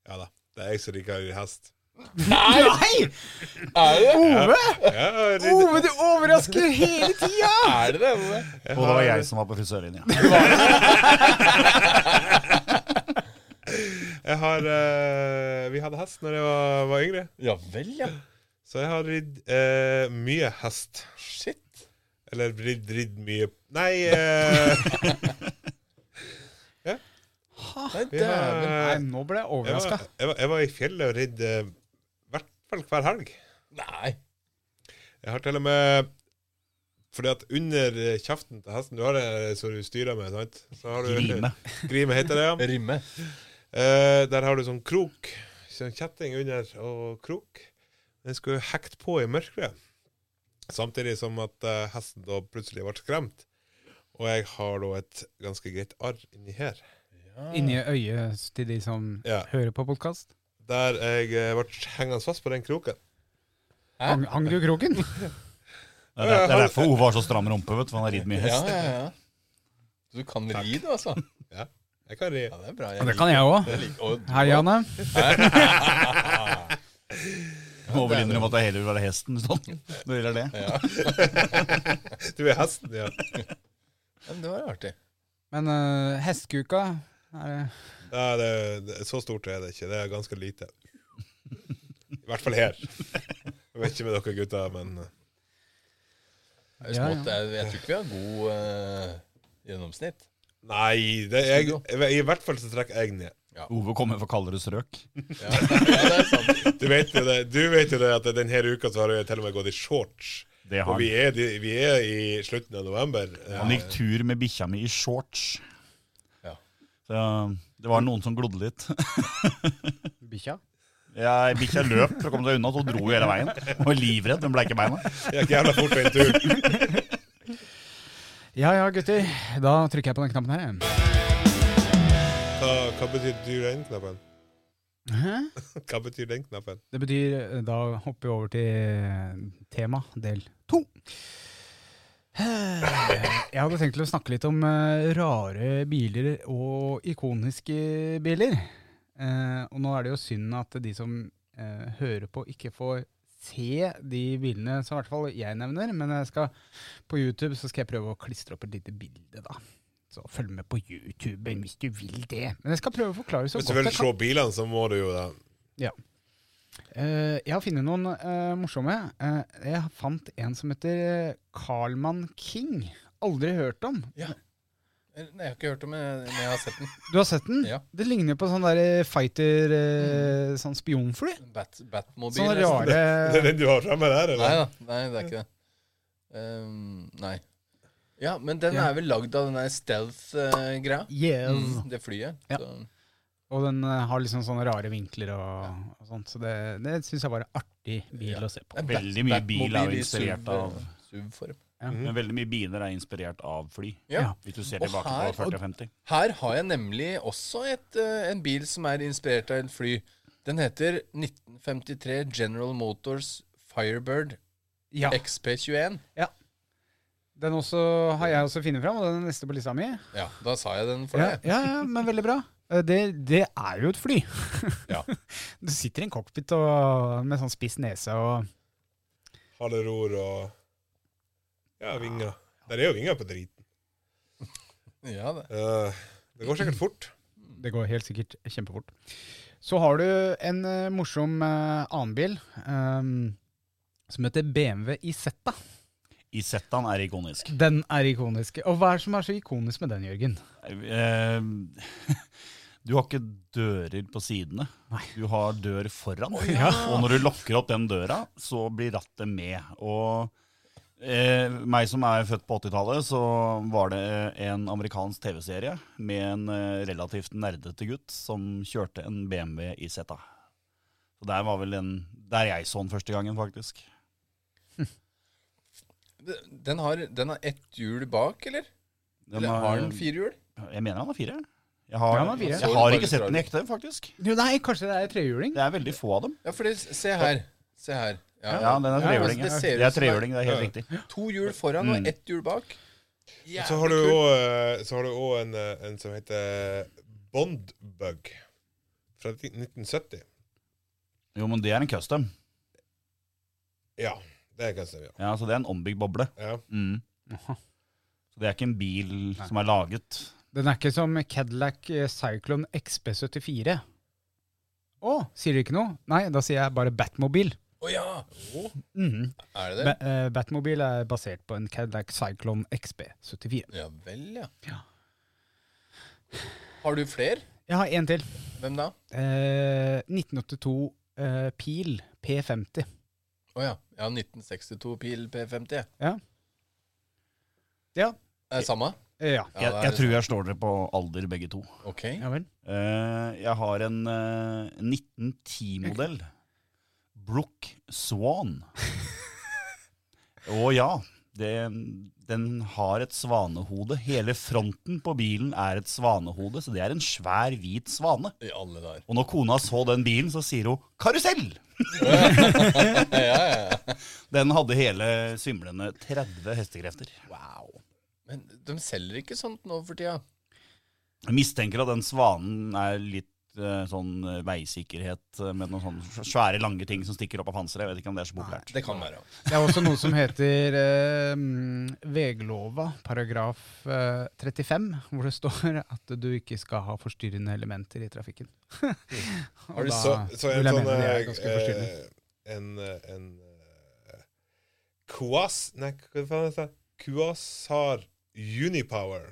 Ja da. Det er jeg som liker hest.
Nei!
Er det det?
Ove!
Ja, ridd-
Ove, du overrasker hele tida!
Er det det? Ove?
jeg
Og det var
har-
jeg som var på frisørlinja.
Jeg har eh, Vi hadde hest når jeg var, var yngre,
Ja vel, ja.
så jeg har ridd eh, mye hest.
Shit.
Eller ridd, ridd mye Nei eh,
Nei,
Ah, vi har,
dæven.
(laughs) Nei, nå ble jeg
jeg,
overraska.
var, jeg, var, jeg var i fjellet og ridd eh, hvert fall hver helg.
Nei.
Jeg har til og med Fordi at under eh, kjeften til hesten Du har det som du styrer med, sant? Så har du,
Grime.
(laughs) Grime heter det, ja.
Rimme.
Eh, der har du sånn krok. Sånn kjetting under og krok. Den skulle hekt på i mørket. Samtidig som at eh, hesten da plutselig ble skremt. Og jeg har da et ganske greit arr inni her.
Inni øyet til de som
Ja.
hører på podkast.
Der jeg eh, ble hengende fast på den kroken.
Hæ?
Hang, hang du i (laughs) kroken?
Det er, der- det er derfor Ove har så stram rumpe, vet du, for han har ridd mye
Ja,
hest.
ja, ja. Du kan ri, du, altså.
Jeg kan ri.
Ja, det er bra.
Det kan jeg òg.
liker- og du
Hei, Janne.
Må vel innrømme at jeg heller vil være hesten. Sånn. Når det gjelder det.
Du er hesten, ja.
Ja, men det var artig.
Men uh, hestekuka er det
Nei, det, det, så stort er det ikke. Det er ganske lite. I hvert fall her. Jeg vet ikke med dere gutter, men eh,
Ja,
Det er jo
ja.
smått. Jeg, jeg tror ikke vi har god eh,
(laughs)
gjennomsnitt.
Nei, det, jeg, i hvert fall så trekker jeg ned.
Ove kommer fra kaldere strøk.
Ja, ja det er sant.
Du vet jo det, du vet jo det at denne uka så har jeg til og med gått i shorts.
Det har
Og vi
han.
er, de- vi er i slutten av november.
Han gikk tur med bikkja mi i shorts.
Ja.
Så Det var noen som glodde (laughs) litt.
Bikkja?
Jeg bikkja løp for å komme seg unna, så hun dro jo hele veien. Hun var livredd, den bleike beina.
Jeg er ikke jævla fort på en tur.
Ja ja, gutter. Da trykker jeg på den knappen her.
Hva, hva betyr du den knappen?
Hæ?
Hva betyr den knappen?
Det betyr eh, Da hopper vi over til eh, tema del to. (sighs) Jeg hadde tenkt til å snakke litt om eh, rare biler og ikoniske biler. Eh, og nå er det jo synd at de som eh, hører på, ikke får se de bilene som i hvert fall jeg nevner. Men jeg skal, på YouTube så skal jeg prøve å klistre opp et lite bilde, da. Så følg med på YouTube hvis du vil det. Men jeg skal prøve å forklare så
Hvis du
godt
vil
jeg kan.
se bilene, så må du jo da
Eh, jeg har funnet noen eh, morsomme. Eh, jeg fant en som heter eh, Carlman King. Aldri hørt om.
Nei, jeg har ikke hørt om det, men jeg har sett den.
Du har sett den?
Ja. Mm.
Det ligner på sånn der eh, fighter eh, Sånn spionfly.
Bat, Batmobil.
Sånn
(laughs) nesten.
rare
Det er den du har framme der,
Nei
eller?
da, nei, det er ikke det. Ehm, nei. Ja, men den
Ja.
er vel lagd av den der stealth-greia.
Yes.
Mm, det flyet.
Ja.
Så,
Og den eh, har liksom sånne rare vinkler og, og sånt. Så det, det syns jeg var en artig bil
Ja.
å se på.
det er
Veldig mye bil er
Batmobil
jo
i
inspirert
SUV,
av
SUV-form.
men Veldig mye biler er inspirert av fly.
Ja.
Ja.
Hvis du ser
Og
tilbake
her-
på
og-
40- og 50.
Her har jeg nemlig også et, eh, en bil som er inspirert av et fly. Den heter 1953 General Motors Firebird
Ja.
XP21.
Den også har jeg også funnet fram, og den er neste på lista mi.
Ja, da sa jeg den for
Ja,
deg.
ja, ja, men veldig bra. Eh, Det, det er jo et fly. (laughs)
Ja.
Du sitter i en cockpit og, med sånn spiss nese og
Halve ror og Ja, vinger. Der er jo vinger på driten.
Ja, det.
Eh, det går sikkert fort.
Det går helt sikkert kjempefort. Så har du en eh, morsom eh, annen bil ehm, som heter BMW Isetta.
Isettaen er ikonisk.
Den er ikonisk. Og hva er det som er så ikonisk med den, Jørgen?
Eh, (laughs) Du har ikke dører på sidene.
Nei.
Du har dør foran. Og når du lokker opp den døra, så blir rattet med. Og eh, meg som er født på 80-tallet, så var det en amerikansk TV-serie med en eh, relativt nerdete gutt som kjørte en BMW i Zeta. Så der var vel den der jeg så den første gangen, faktisk.
Den har, den har ett hjul bak, eller?
Den
eller
har-
har den fire hjul?
Jeg mener han har fire. Jeg har,
Ja, han har fire.
jeg har ikke sett den i ekte, faktisk.
Jo, nei, kanskje det er trehjuling?
Det er veldig få av dem.
Ja, for det, se her. Se her. Ja,
Ja, den er
Ja,
trehjuling.
altså, det
ja.
ser
Det
ut
er
som
trehjuling, det er helt
Ja.
riktig.
To hjul foran
Mm.
og ett hjul bak.
Og så har du jo, eh, så har du òg en, eh, en som heter Bondbug fra 1970.
Jo, men det er en custom.
Ja, det kan stemme. Ja.
Ja, så Det er en ombygd boble.
Ja.
Mm.
Jaha.
Så Det er ikke en bil som er laget.
Den er ikke som Cadillac eh, Cyclone XB74. Å, sier det ikke noe? Nei, da sier jeg bare Batmobil.
Å ja!
Mhm.
Er det det?
Ba eh, Batmobil er basert på en Cadillac Cyclone XB74.
Ja vel, ja.
Ja.
Har du fler?
Jeg har en til.
Hvem da?
Eh, 1982 eh, Pil P50.
Å ja. Ja, 1962 Pil P50. ja.
Ja.
Er det samme?
Eh, ja.
Jeg,
Ja, det er
jeg
det sånn.
tror jeg slår dere på alder, begge to.
samme. Ok.
ja vel.
Eh, jeg har en eh, 1910-modell. Brook Swan. Å ja. Det, den har et svanehode. Hele fronten på bilen er et svanehode, så det er en svær, hvit svane.
I alle dager.
Og når kona så den bilen, så sier hun 'karusell'!
Ja, ja, ja.
Den hadde hele svimlende 30 hestekrefter.
Men de selger ikke sånt nå for tida.
Jeg mistenker at den svanen er litt eh, sånn eh, veisikkerhet eh, med noen sånne svære, lange ting som stikker opp av panseret. Jeg vet ikke om det er så populært.
Det kan være.
Det er også noe som heter eh, mm, veglova, paragraf eh, 35, hvor det står at du ikke skal ha forstyrrende elementer i
(laughs)
trafikken. Og
Har du
da
så, så en
vil jeg
sånn
mene de er
eh,
ganske forstyrrende.
eh, En, eh, en eh, Kuas Nei, hva faen heter det? Kuasar Unipower.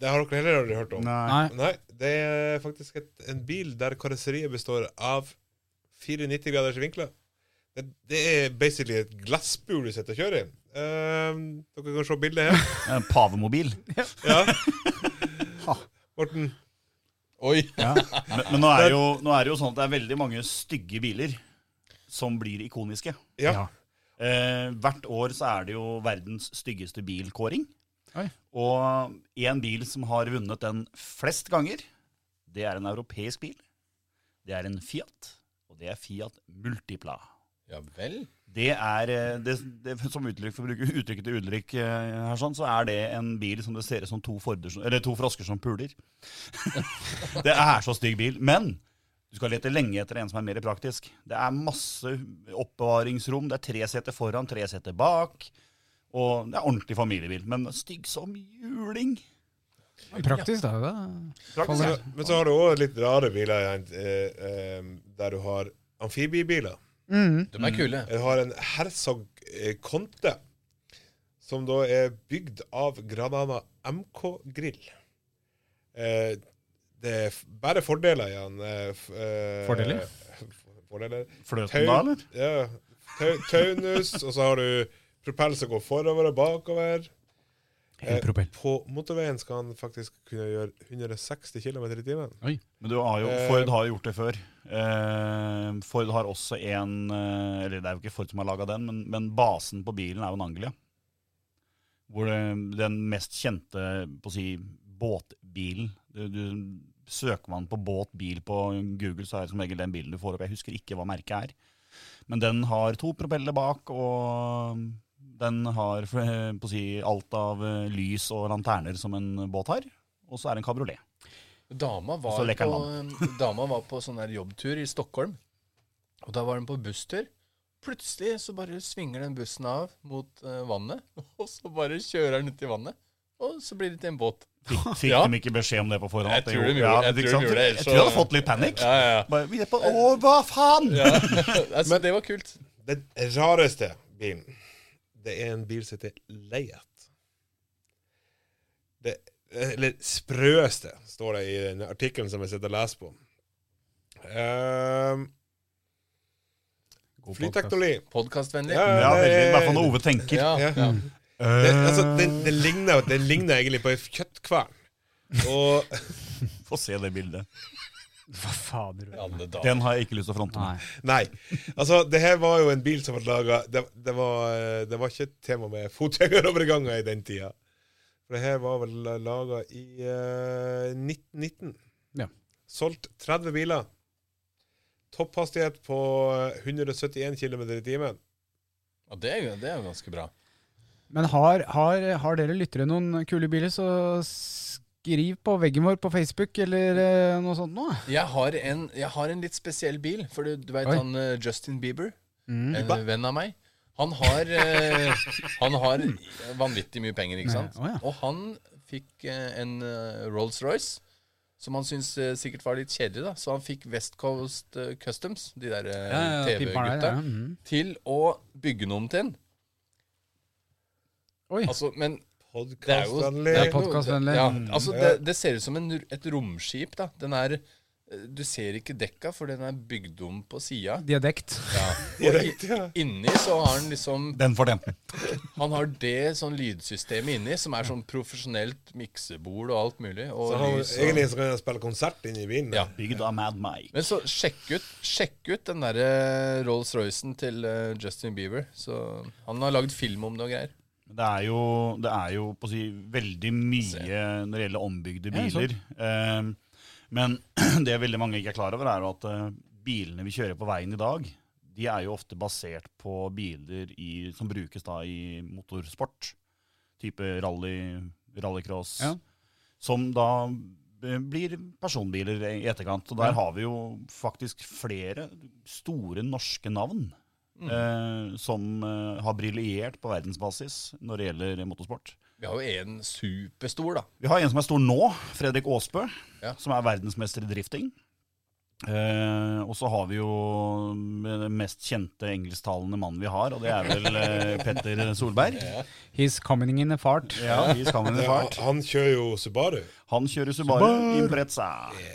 Det har dere heller aldri hørt om.
Nei.
Nei.
Nei, det er faktisk et, en bil der karosseriet består av 94 graders vinkler. Det, det er basically et glassbur du sitter og kjører i. Ehm, Eh, dere kan se bildet her.
En pavemobil.
Ja. Morten.
Oi!
Men, men nå, er jo, nå er det jo sånn at det er veldig mange stygge biler som blir ikoniske.
Ja.
Eh, hvert år så er det jo verdens styggeste bilkåring.
Oi.
Og én bil som har vunnet den flest ganger, det er en europeisk bil. Det er en Fiat, og det er Fiat Multipla.
Ja vel.
Det er, eh, det, det, Som uttrykk for å bruke uttrykket til Ulrik, eh, her, sånn, så er det en bil som det ser ut som to, Forder som- eller to frosker som puler. (laughs) det er så stygg bil. Men du skal lete lenge etter en som er mer praktisk. Det er masse oppbevaringsrom. Det er tre seter foran, tre seter bak. Og det er ordentlig familiebil. Men stygg som juling.
Praktisk, da. da.
Praktisk,
Faller-
ja.
Så, men så har du òg litt rare biler igjen, eh, eh, der du har amfibiebiler.
Mhm.
De er kule.
Jeg har en Herzog eh, Conte, som da er bygd av Granana MK Grill. Eh, det er f- bare fordeler igjen. Eh, f- eh,
Fordeler?
f- Fordeler.
Fløten da,
Tau,
eller?
ja, tau, taunus, og så har du propell som går forover og bakover. Eh,
Propell.
På motorveien skal han faktisk kunne gjøre 160 km i timen.
Men du har jo,
Eh,
Ford har jo gjort det før. Eh, Ford har også en eh, Eller det er jo ikke Ford som har laga den, men, men basen på bilen er jo en Anglia. Hvor det, den mest kjente på å si, båtbilen du, du, Søker man på båtbil på Google, så er det som regel den bilen du får opp. Jeg husker ikke hva merket er. Men den har to propeller bak, og den har (laughs) eh, på å si, alt av eh, lys og lanterner som en båt har. Og så er det en kabriolet.
Dama
Og så
var,
leker
på, dama var på sånn der jobbtur i Stockholm. Og da var hun på busstur. Plutselig så bare svinger den bussen av mot eh, vannet, (laughs) og så bare kjører den uti vannet. Og så blir det til en båt.
Fikk, fikk
Ja.
de ikke beskjed om det på forhånd?
Jeg
at det
tror de
gjorde-
gjorde-
ja,
jeg tror
ikke
de
sant?
gjorde det,
Jeg
så-
tror jeg hadde fått litt panikk.
Ja, ja, ja.
Bare, vi er på, Å, hva faen!
Altså, det var kult.
Den rareste bilen, det er en bil som heter Leiet. Det, eller sprøeste, står det i den artikkelen som jeg sitter og leser på. Um, Flyteknologi.
Podkastvennlig.
Ja,
Ja,
det-
veldig, I hvert fall når Ove tenker.
Ja, ja.
Ja. Det, altså, den, den, ligner, den ligner egentlig på en kjøttkvern. Og
Eh, Få se det bildet.
Hva fader?
I (laughs) alle dager.
Den har jeg ikke lyst til å fronte.
Nei.
Nei. Altså, det her var jo en bil som ble laga det, det, var- eh, det var ikke et tema med fotgjengeroverganger i den tida. For det her var vel laga i eh, 1919.
Ja.
Solgt 30 biler. Topphastighet på eh, 171 km i timen.
Ja, det, er jo- det er jo ganske bra.
Men har, har, har dere lyttere noen kule biler, så skriv på veggen vår på Facebook eller eh, noe sånt nå.
Jeg har en, jeg har en litt spesiell bil, for du, du veit
Oi.
han eh, Justin Bieber?
Mm.
En venn av meg. Han har, eh, han har vanvittig mye penger, ikke sant?
Nei, å ja.
Og han fikk eh, en eh, Rolls-Royce, som han syntes eh, sikkert var litt kjedelig, da. Så han fikk West Coast eh, Customs, de der eh, TV-gutta,
Ja, mm.
til å bygge noe om til den.
Oi.
Altså, men det er jo
Podkastanlegg.
Det er podcastvennlig.
Ja,
Mm.
altså det, det ser ut som en, et romskip, da. Den er eh, Du ser ikke dekka, for den er bygd om på sida.
De er dekt.
Ja. Og i,
Korrekt, ja.
inni så har han liksom
Den får den.
Han har det sånn lydsystemet inni, som er sånn profesjonelt miksebord og alt mulig. Og
Så han,
lys og...
egentlig så kan han spille konsert inne i bilen.
Ja.
Bygd av Mad Mike.
Men så sjekk ut, sjekk ut den derre Rolls-Roycen til eh, Justin Bieber. Så han har lagd film om det og greier.
Det er jo, det er jo på å si, veldig mye når det gjelder ombygde
Ja, sant.
biler. Ehm, men (clears throat) det veldig mange ikke er klar over, er jo at eh, bilene vi kjører på veien i dag, de er jo ofte basert på biler i, som brukes da i motorsport. Type rally, rallycross.
Ja.
Som da eh, blir personbiler i etterkant. Og der
Ja.
har vi jo faktisk flere store norske navn
Mm.
eh, som eh, har briljert på verdensbasis når det gjelder motorsport.
Vi har jo en superstor, da.
Vi har en som er stor nå, Fredrik Aasbø,
Ja.
som er verdensmester i drifting. Eh, og så har vi jo den mest kjente engelsktalende mannen vi har, og det er vel eh, Petter
(laughs)
Solberg.
He's coming in a fart.
Ja, i Skammen i
Han,
fart.
han kjører jo Subaru.
Han kjører Subaru Impreza.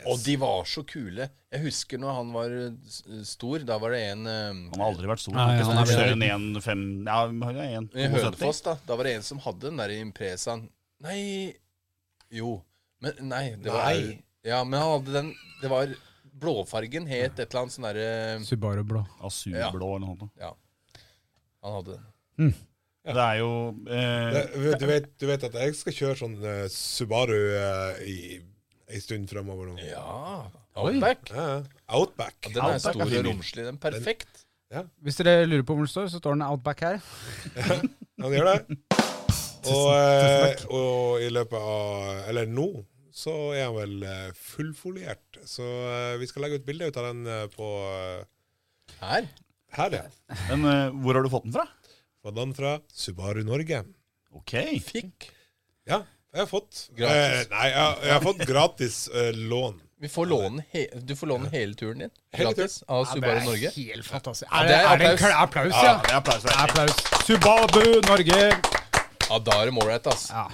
Og de var så kule. Jeg husker når han var eh, s- stor, da var det en eh,
Han har aldri vært stor.
Nei,
ikke sant?
han
han
er
er større enn 1,5 Ja, han er
I
1,72.
Hønefoss, da. Da var det en som hadde den der Impresaen. Nei Jo. Men nei, det var
Nei.
Ja, men han hadde den Det var Blåfargen het et eller annet sånn derre
Subaru blå.
Asurblå
Ja.
eller noe sånt.
Ja. Han hadde den.
Det er jo eh,
Det- Du vet, du vet at jeg skal kjøre sånn eh, Subaru eh, i ei stund framover nå. Ja.
Ja. Outback.
ja. Outback.
Den er
Outback
stor
er fin
og
bil.
romslig. Den er perfekt.
Hvis dere lurer på hvor den står, så står den Outback her.
Han gjør (laughs) det. Og, eh, og i løpet av Eller nå så er han vel eh, fullfoliert. Så eh, vi skal legge ut bilde ut av den eh, på eh,
Her.
her, ja.
Men eh, hvor har du fått den fra?
Fått den fra Subaru Norge.
Ok.
Fikk.
Ja, jeg har fått.
Gratis.
Eh, nei, jeg, jeg har fått gratis eh, lån.
Vi får låne he du får låne hele turen din
Hele
gratis av Subaru Norge.
Helt fantastisk.
Ja,
Er
det
det,
er
er det en
applaus.
kla- applaus, ja?
det er applaus. det er
Applaus. Subaru Norge!
Ja, da er de ålreit, ass.
Ja.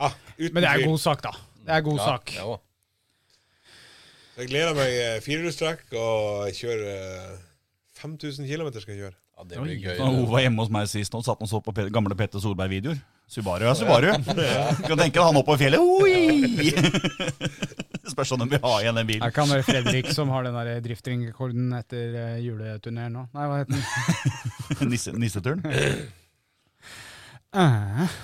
Ah, uten
Men det er
tvil.
god sak, da. Det er god
Ja,
sak.
ja, da.
Jeg gleder meg eh, firehjulstrekk og kjøre eh, 5000 km skal jeg kjøre.
ja, det blir gøy.
Da Ove var hjemme hos meg sist nå, satt han og så på Pe- gamle Petter Solberg-videoer. Subaru er Subaru. Du kan tenke deg han oppå fjellet. Oi! Spørs om de vil ha igjen den
Er
bilen.
ikke han der Fredrik som har den der driftingrekorden etter uh, juleturneen nå? Nei, hva heter den?
Nisse, nisseturen.
Eh.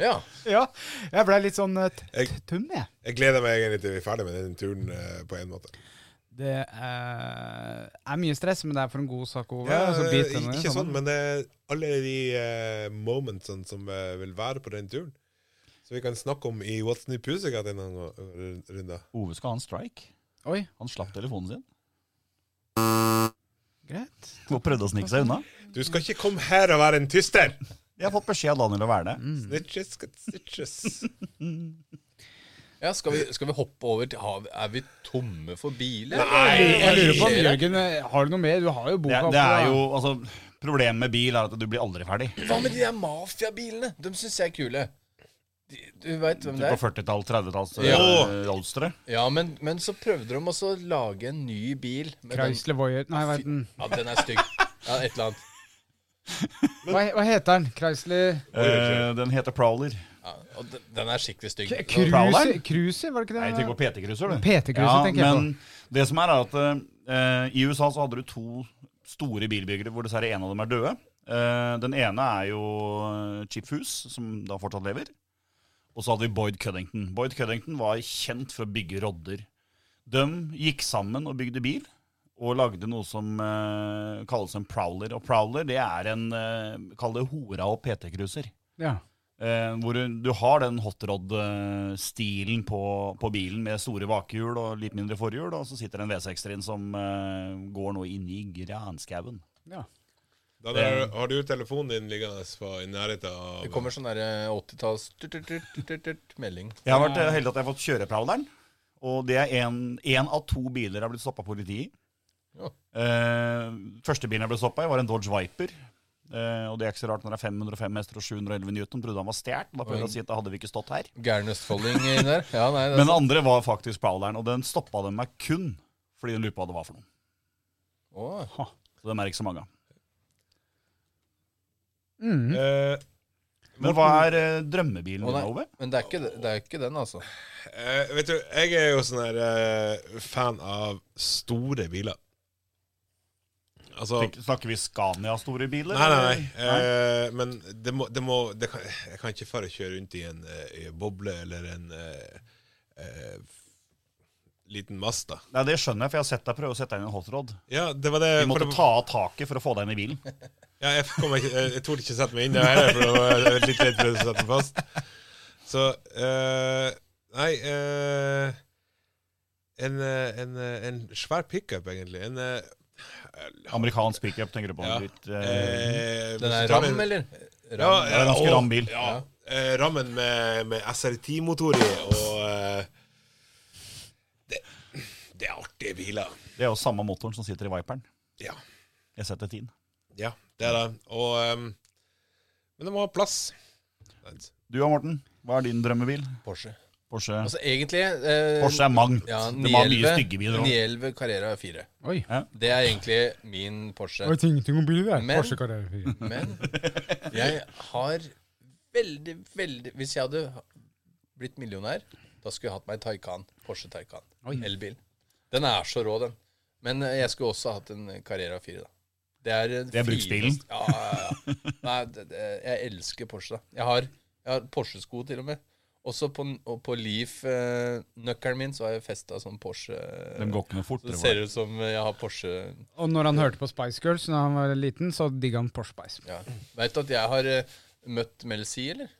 Ja.
(laughs) ja, jeg blei litt sånn eh, t-
Jeg,
tum, jeg.
jeg gleder meg egentlig til vi er ferdig med den turen eh, på en måte.
Det eh, er mye stress, men det er for en sånn god sak, Ove.
Ja,
så bit
eh,
den i
ikke sånn,
sammen.
men det er alle de eh, momentsene som eh, vil være på den turen. Så vi kan snakke om i What's New Pussycat en gang, eh, Runda.
Ove skal ha en strike.
Oi,
Han slapp telefonen sin
greit.
og prøvde å snike seg unna.
Du skal ikke komme her og være en tyster!
Jeg har fått beskjed av Daniel å være det.
Mm.
Snitches get
(laughs)
stitches.
ja skal, vi, skal vi hoppe over til havet? Er vi tomme for biler?
Nei,
Jeg lurer på om
Skjer det?
Jørgen eh, har du noe mer? Du har jo
Det,
boka
det er
oppe, da.
jo, altså, Problemet med bil er at du blir aldri ferdig.
Hva med de der mafiabilene? De syns jeg er kule. De, du veit hvem
Typ
det
På
er?
40-tall, 30-talls
Ja.
eh, roadstere.
Ja, men, men så prøvde de også å lage en ny bil. med den-
Chrysler Voyer Nei, hva heter den?
Ja, den er stygg. Ja, et eller annet.
Hva, he- hva heter den? Chrysler
Eh, den heter Prowler.
Ja, og den- den er skikkelig stygg.
K-
Prowler?
Cruiser, Cruiser, var det ikke
Nei, jeg
det?
tenker på PT-krysser, du.
PT-krysser tenker jeg
men det som er, er at eh, i USA så hadde du to store bilbyggere hvor dessverre en av dem er døde. Eh, den ene er jo eh, Chip Foose, som da fortsatt lever. Og så hadde vi Boyd Cuddington. Boyd Cuddington var kjent for å bygge rodder. De gikk sammen og bygde bil, og lagde noe som eh, kalles en prowler. Og prowler det er en uh, Kall det hora og PT-cruiser.
Ja.
Eh, hvor du, du har den hotrod-stilen på, på bilen med store bakhjul og litt mindre forhjul, og så sitter det en V6-er inn som eh, går nå inn i granskauen.
ja.
Daniel, har du telefonen din liggende på- i nærheten av
Det kommer sånn derre 80-talls tut, tut, tut, tut, tut, melding.
Jeg har vært eh, heldig at jeg har fått kjøre Prowleren, og det er én av to biler jeg har blitt stoppa av politiet i.
Ja.
Eh, første bilen jeg ble stoppa i, var en Dodge Viper. Eh, og det er ikke så rart når det er 505 hester og 711 newton. Trodde han var stjålet. Da prøvde jeg å si at da hadde vi ikke stått her.
Gæren østfolding inn der. Ja, nei, det
Men
er
den andre var faktisk Prowleren, og den stoppa dem meg kun fordi de lurte på hva det var for noe.
Åh.
Så dem er ikke så mange av.
Mm.
Eh,
Men hva er eh, drømmebilen
Å,
din,
nei.
Ove?
Men det er, ikke, det er ikke den, altså.
eh, vet du, jeg er jo sånn her eh, fan av store biler. Altså
Tenk- Snakker vi Scania-store biler? (laughs)
Nei, nei,
eller?
nei. Eh, men det må, det må det kan, Jeg kan ikke bare kjøre rundt i en, eh, i en boble eller en eh, eh, liten Masta.
Nei, Det skjønner jeg, for jeg har sett deg prøve å sette deg inn i en hotrod.
Ja, det var det
Vi måtte
for det,
ta av taket for å få deg inn i bilen.
ja, Jeg, kom ikke, jeg, jeg torde ikke sette meg inn der heller, for det var- jeg var litt redd for å sette meg fast. Så eh, Nei eh, en, eh, en, eh, en svær pickup, egentlig. En eh,
Amerikansk pickup, tenker du på.
ja,
Litt, eh,
eh,
Den
hvis
er
du tar
ram,
en-
eller?
Ja,
det
Ram.
er en ganske
og-
ram bil.
Ja, eh, rammen med, med SRT-motor i, og eh, det, det er artige biler.
det er jo samme motoren som sitter i Viperen.
Ja,
Jeg setter tiden.
ja det er det. Og, ehm, men det må ha plass. Vent.
Du og Morten, hva er din drømmebil?
Porsche.
Porsche.
Altså egentlig eh,
Porsche er mangt.
ja,
det var mye
911,
stygge biler òg.
911 Carrera 4.
Oi.
Det er egentlig min Porsche.
Det var ingenting om bilen der.
Men-
Porsche Carrera 4.
Men jeg har veldig, veldig Hvis jeg hadde blitt millionær, da skulle jeg hatt meg Taycan. Porsche Taycan.
Oi.
Elbil. Den er så rå, den. Men eh, jeg skulle også hatt en Carrera 4, da. Det er, eh,
Det er bruksbilen.
finest- Ja, ja, ja. Nei, det, det, jeg elsker Porsche, da. Jeg har, jeg har Porsche-sko til og med. Også på, og på Leaf-nøkkelen min så har jeg festa sånn Porsche
De går ikke noe
Så det
fortere.
ser
bare.
ut som jeg har Porsche
(laughs) Og når han hørte på Spice Girls da han var liten, så digga han Porsche Spice.
Ja. Veit du at jeg har eh, møtt Mel C, eller?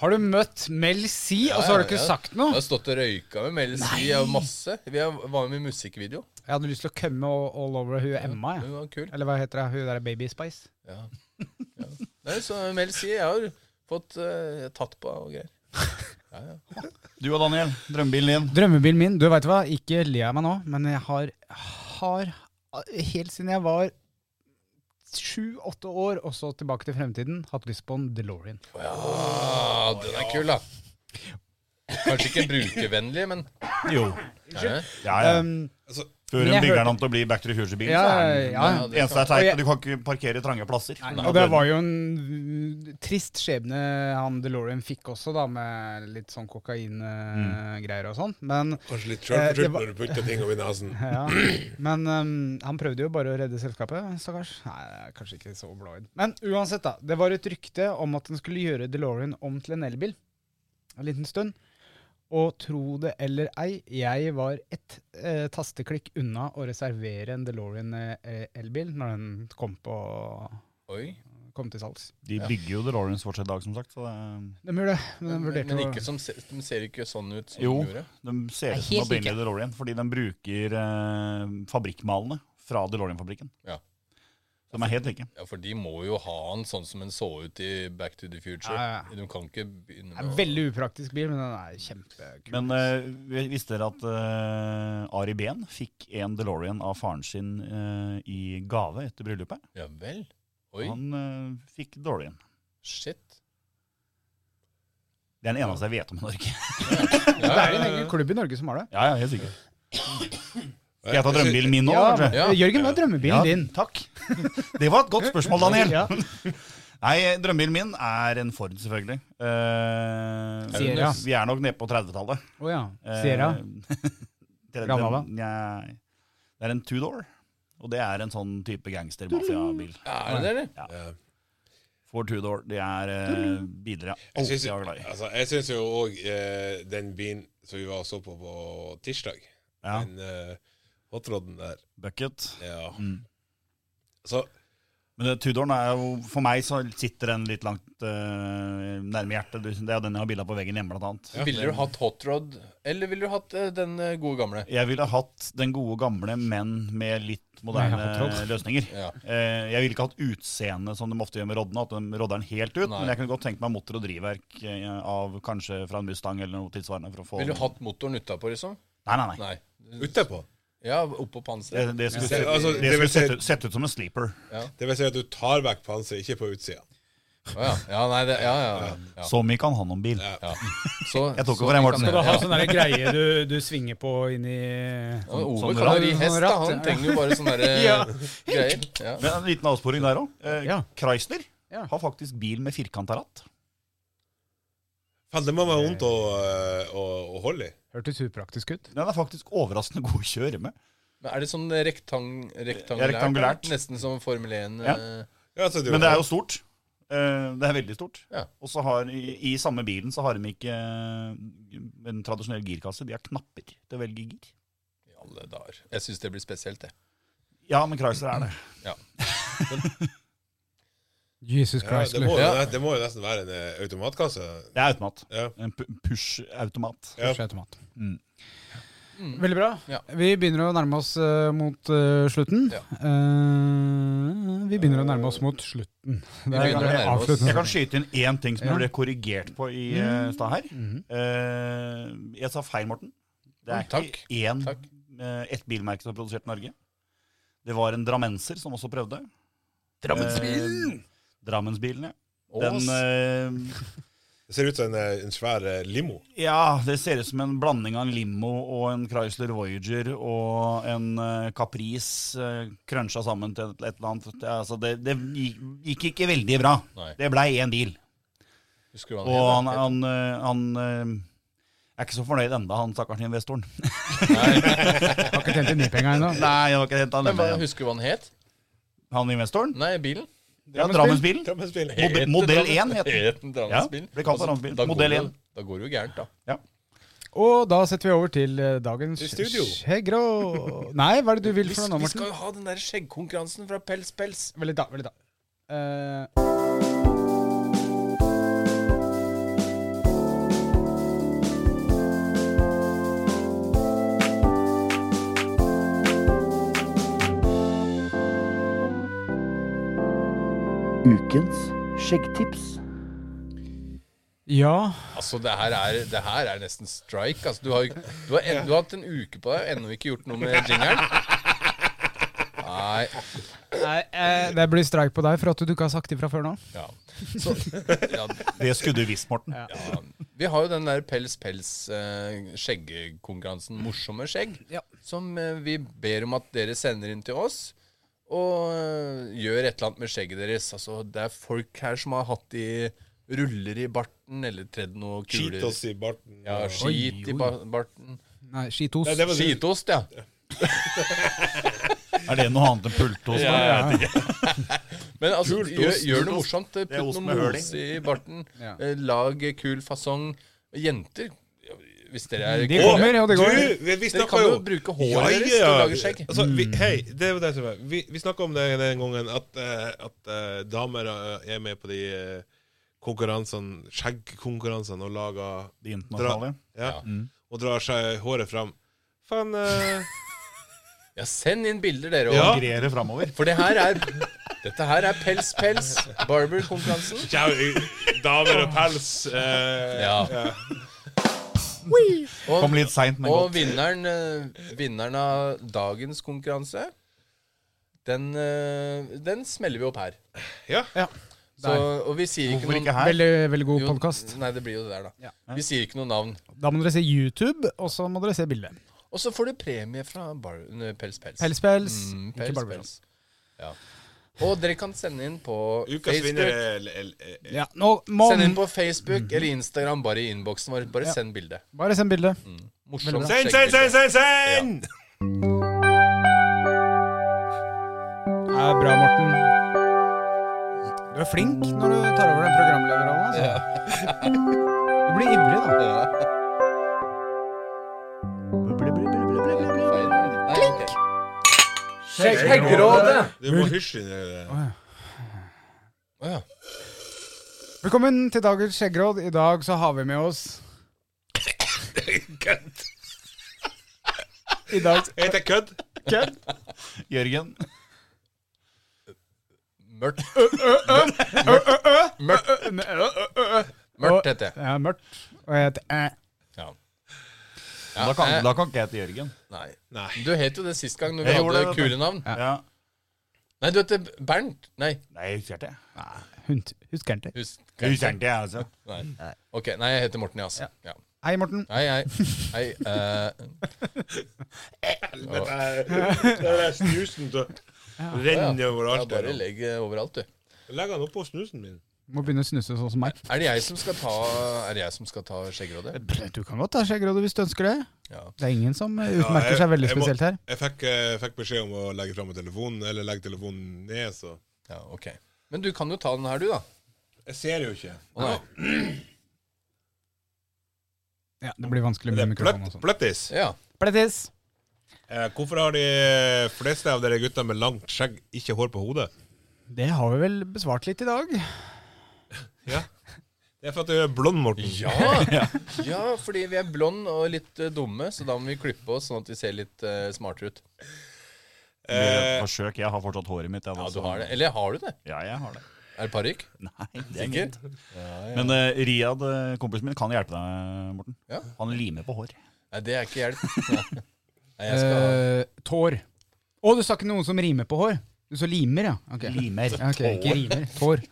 Har du møtt Mel C, og så har du ikke
ja.
sagt
Jeg
noe?
har stått og røyka med Mel C jeg har masse. Vi har- var med i musikkvideo.
Jeg hadde lyst til å kømme all- all over hun Emma,
Hun
jeg.
var kul.
Eller hva heter hun, hun der Baby Spice?
Ja. Ja. Nei, så Mel C jeg har fått eh, tatt på og greier.
Du og Daniel, drømmebilen din.
Drømmebilen min, du veit hva, ikke le av meg nå, men jeg har, har helt siden jeg var sju-åtte år, og så tilbake til fremtiden, hatt lyst på en DeLorean.
Ah, den er kul, da. Kanskje ikke brukervennlig, men
Jo.
ja,
Ja, ja.
Um,
Altså,
Før
men
hun
jeg
bygger
hørte-
den om til å bli Back to the Future-bil, så
ja,
er den
ja, ja.
det
Det eneste
kan-
er teit,
Og jeg-
du kan ikke parkere i trange plasser.
Og det var jo en trist skjebne han DeLorean fikk også, da, med litt sånn kokaingreier og sånn. Men,
Kanskje litt
Eh, det
sjølforskyldt
var-
når du putter ting opp i nesen.
ja. Men um, han prøvde jo bare å redde selskapet, stakkars. Nei, det er kanskje ikke så blåøyd. Men uansett, da. Det var et rykte om at en skulle gjøre DeLorean om til en elbil en liten stund. Og tro det eller ei, jeg var ett eh, tasteklikk unna å reservere en DeLorean eh, elbil når den kom, på,
Oi.
kom til salgs.
De bygger jo The Lawrence fortsatt i dag, som sagt. Så det,
De gjorde det, men de
Men,
vurderte
men
å-
ikke som, se- de ser ikke sånn ut som
Jo.
de gjorde.
de ser
Nei,
ut som
helt
opprinnelig
like.
DeLorean, fordi de bruker eh, fabrikkmalene fra DeLorean-fabrikken.
Ja.
Så De er helt like.
Ja, For de må jo ha den sånn som den så ut i Back to the Future.
Ja, ja.
De kan ikke begynne
Det er en
med å
veldig upraktisk bil, men den er kjempekul.
Men eh, vi- visste dere at eh, Ari Behn fikk en DeLorean av faren sin eh, i gave etter bryllupet?
Ja vel. Oi.
Han eh, fikk DeLorean.
Shit.
Det er den eneste jeg vet om i Norge.
det er en egen klubb i Norge som har det.
ja, ja, helt sikkert. Skal (laughs) jeg ta drømmebilen min nå?
ja,
kanskje?
Ja.
Jørgen, hva er drømmebilen din?
Takk. (laughs) Det var et godt spørsmål, (laughs) Daniel.
Ja.
Nei, drømmebilen min er en Ford, selvfølgelig. Eh,
Sierra.
Vi er nok nede på 30-tallet.
Å ja.
Eh, (laughs)
Sierra.
30
Gammel, da?
Nei. Det er en Tudor. Og det er en sånn type gangster-mafia-bil.
Er det det, eller?
Ja.
Ford Tudor. Det er eh, biler jeg
Jeg
alltid
syns,
har vært glad i.
altså, jeg syns jo òg eh, den bilen som vi var og så på på tirsdag,
Ja,
den eh, hotroden der
Bucket.
ja.
Mm.
Så
Men det, Tudoren er jo For meg så sitter den litt langt eh, nærme hjertet. Det er jo den jeg har bilder på veggen hjemme, blant annet.
Ville du hatt hot rod, eller ville du hatt eh, den eh, gode gamle?
Jeg ville hatt den gode gamle, men med litt moderne
Med hot rod.
løsninger.
Ja.
Eh, Jeg ville ikke hatt utseende som de ofte gjør med roddene, at de rodder den helt ut.
Nei.
Men jeg kunne godt tenkt meg motor og drivverk eh, av kanskje fra en Mustang eller noe tilsvarende. for å få...
Ville du hatt motoren utapå, liksom?
Nei, nei, nei.
Nei.
utapå.
Ja, oppå
Det,
panseret.
det skulle,
Ja.
se,
Altså,
det
det vil
skulle
si-
sett, ut- sett ut som en sleeper.
Det vil si at du tar vekk panseret, ikke på utsida.
Å ja. ja, nei, det Ja, ja. ja.
Så mye kan han om bil.
Ja.
ja. Så,
Jeg tok
så
over den,
vi
Morten.
Skal
kan-
du ha sånn der greie du, du svinger på inni
Ja, Ove
Sånn
kan
ratt.
jo ri hest, da.
Sånn
Han
ratt, ja.
trenger jo bare sånne der, eh,
(laughs) Ja.
greier. Ja.
Men En liten avsporing der òg.
Ja.
Chrysler
Ja.
har faktisk bil med firkanta ratt.
Faen, det må være vondt å, eh, å, å holde i.
Hørtes upraktisk ut.
Den er faktisk overraskende god å kjøre med.
Men er det sånn rektang, rektangulært?
Rektangulært.
da? Nesten som Formel 1?
Ja.
eh,
Ja, altså,
Men det er jo stort. Eh, Det er veldig stort.
Ja.
Og så har i, i samme bilen så har de ikke eh, en tradisjonell girkasse. De har knapper til å velge gir.
I alle dager. Jeg syns det blir spesielt, det.
Ja, men Chrysler er det.
Jesus
ja,
Christ.
det, må,
Luke.
jo
Ja.
ne- det må jo nesten være en eh, automatkasse.
Det er automat.
Ja.
En pu- push-automat.
Ja.
Kanskje automat.
Mm.
Veldig bra.
Mm. Ja.
Vi begynner å nærme oss eh, mot eh, slutten.
Ja.
Eh, vi begynner å nærme oss mot slutten. Det
begynner å nærme oss.
Jeg
avsluttende.
kan skyte inn én ting som
Ja. Mm.
jeg ble korrigert på i eh, stad her. Eh, jeg sa feil, Morten. Det er
Oi, takk.
ikke én,
Takk.
eh, ett bilmerke som er produsert i Norge. Det var en drammenser som også prøvde. Drammensbilen! Drammensbilen, ja. Den,
Ås.
eh,
Det ser ut som en, eh, en svær eh, limo.
Ja, det ser ut som en blanding av en limo og en Chrysler Voyager og en eh, Caprice uh, krønsja sammen til et, et eller annet. Det, altså, det, det gikk, gikk ikke veldig bra.
Nei.
Det blei én bil.
Husker du hva
Og han,
het, da?
han, eh, han eh, er ikke så fornøyd enda, han stakkars investoren.
Har ikke tjent inn de penga ennå.
Nei, jeg har ikke hentet han
Men hva,
ennå.
Husker du hva han het?
Han investoren?
Nei, bilen.
Ja, Drammensbilen.
Drammensbil.
Modell-
Het den
modell 1
Drammens-
het den.
het den. Drammensbil.
Ja, ble kalt
Altså,
Drammensbil.
da går
Modell
det jo-
1.
Da går det jo gærent, da.
Og da setter vi over til eh, dagens
Til studio.
skjeggrå Nei, hva er det du vil
Vi,
for noe nå,
vi skal
Morten?
jo ha den der skjeggkonkurransen fra Pels Pels.
Vent litt, da. Vent litt, da. Eh,
Ukens skjeggtips.
ja
Altså, det her er, det her er nesten strike. Altså, du, har, jo- du, har en, du har hatt en uke på deg og ennå ikke gjort noe med jingeren. Nei.
Nei, eh, det blir streik på deg for at du ikke har sagt ifra før nå.
Ja. Så, ja,
Det skulle du visst, Morten.
ja. Vi har jo den der Pels Pels eh, skjeggkonkurransen Morsomme skjegg,
Ja.
som eh, vi ber om at dere sender inn til oss. Og eh, gjør et eller annet med skjegget deres. Altså, det er folk her som har hatt de ruller i barten, eller tredd noe kuler.
Cheetos i barten.
Ja, skit i ba barten.
Nei, skitos.
Nei, det var du.
Skitost, ja.
Er det noe annet enn pultost?
Men altså,
Kult
gjør,
ost,
gjør
kult
det
ost.
morsomt. Putt
Det er ost
noe
med høl i.
mos i
(laughs)
barten.
Ja.
Eh, Lag kul fasong. Jenter, ja, hvis dere er
De kommer, og det går.
Du, vi, vi
Dere
snakka
kan jo
jo
bruke håret deres til å lage skjegg.
Altså, vi, hei, det er jo det som er Vi, vi snakka om det den gangen at, eh, at eh, damer eh, er med på de eh, konkurransene, skjeggkonkurransene, og lager
De internasjonale.
ja,
Ja. Mm.
Og drar seg håret fram. Faen eh,
Ja, send inn bilder, dere
Ja.
òg.
Grere fremover.
For det her er dette her er Pels Pels Barber-konkurransen.
jau- Damer og pels. eh,
Ja.
Kom
Og,
litt seint, men
og
godt.
vinneren, eh, vinneren av dagens konkurranse, den, eh, den smeller vi opp her.
ja.
Så, og vi sier ikke
Hvorfor
noen
ikke her?
Veldig, veldig god
Jo,
podkast.
Nei, det blir jo det der, da.
Ja.
Vi sier ikke noe navn.
Da må dere se YouTube, og så må dere se bildet.
Og så får du premie fra bar nø, Pels Pels.
Pels, pels.
Mm,
ikke
pels,
Barbie
pels. Ja. Og dere kan sende inn på
Ukas
Facebook.
vinner er l- l- eh,
Ja, nå må
Send inn på Facebook eller Instagram, bare i innboksen vår. Bare
Ja.
send bilde.
Bare send bildet.
Mm.
Veldig
Morsomt.
Send, send, send, send! send!
Det er bra, Morten. Du er flink når du tar over den programlederrollen. Altså. (laughs) Du blir ivrig, da.
Klikk!
Du må hysje eh, inn i det.
Å ja.
Velkommen til dagens skjeggråd. I dag så har vi med oss I dag
Heter jeg kødd?
Jørgen.
Mørkt.
Og-
Mørkt heter jeg.
Ja, mørkt. Og jeg heter eh.
Ja.
Da kan,
eh,
da kan ikke jeg hete Jørgen.
Nei.
Nei.
Du het jo det sist gang når vi
Jeg gjorde
hadde
det, vet du.
kule navn.
Ja.
Nei, du heter Bernt. Nei,
Nei, jeg husker ikke.
Hunt. Husker han det?
husk.
Jeg husker ikke, jeg, altså.
Nei. Ok, nei, jeg heter Morten, ja, altså. Ja.
Hei, Morten.
Hei, hei. Hei, eh,
Det er det er snusen som renner over
jeg
alt.
bare
her.
legg eh, overalt, du.
Legg han oppå snusen min.
Må begynne å snuse sånn som meg.
Er det jeg som skal ta, er det jeg som skal ta skjeggrådet?
Du kan godt ta skjeggrådet hvis du ønsker det.
Ja.
Det er ingen som eh,
Ja,
utmerker
jeg-
seg veldig
jeg må-
spesielt her.
Jeg fikk, eh, fikk beskjed om å legge fram telefonen, eller legge telefonen ned, så
ja, ok. Men du kan jo ta den her, du, da.
Jeg ser jo ikke.
Å, nei.
Ja, det blir vanskelig
Det
med
er
mikrofonen og
pløtt,
sånn.
pløttis.
Ja.
Plettis!
Eh, hvorfor har de fleste av dere gutter med langt skjegg ikke hår på hodet?
Det har vi vel besvart litt i dag.
Det er for at du er blond, Morten.
Ja. ja, fordi vi er blond og litt eh, dumme, så da må vi klippe oss sånn at vi ser litt eh, smartere ut.
Eh,
Forsøk. Jeg har fortsatt håret mitt. Jeg,
Ja,
var
du
sånn-
har det. Eller har du det?
Ja, jeg har det.
Er det parykk?
Nei, det er
Sikker?
greit. Men eh, Riyad, eh, kompisen min, kan hjelpe deg, Morten.
Ja.
Han limer på hår.
Nei, det er ikke hjelp. (laughs) Nei, Nei, jeg skal...
Eh, tår. Å, du sa ikke noen som rimer på hår? Du så limer, ja. Ok,
Limer.
Ja, ok, Ikke rimer. Tår.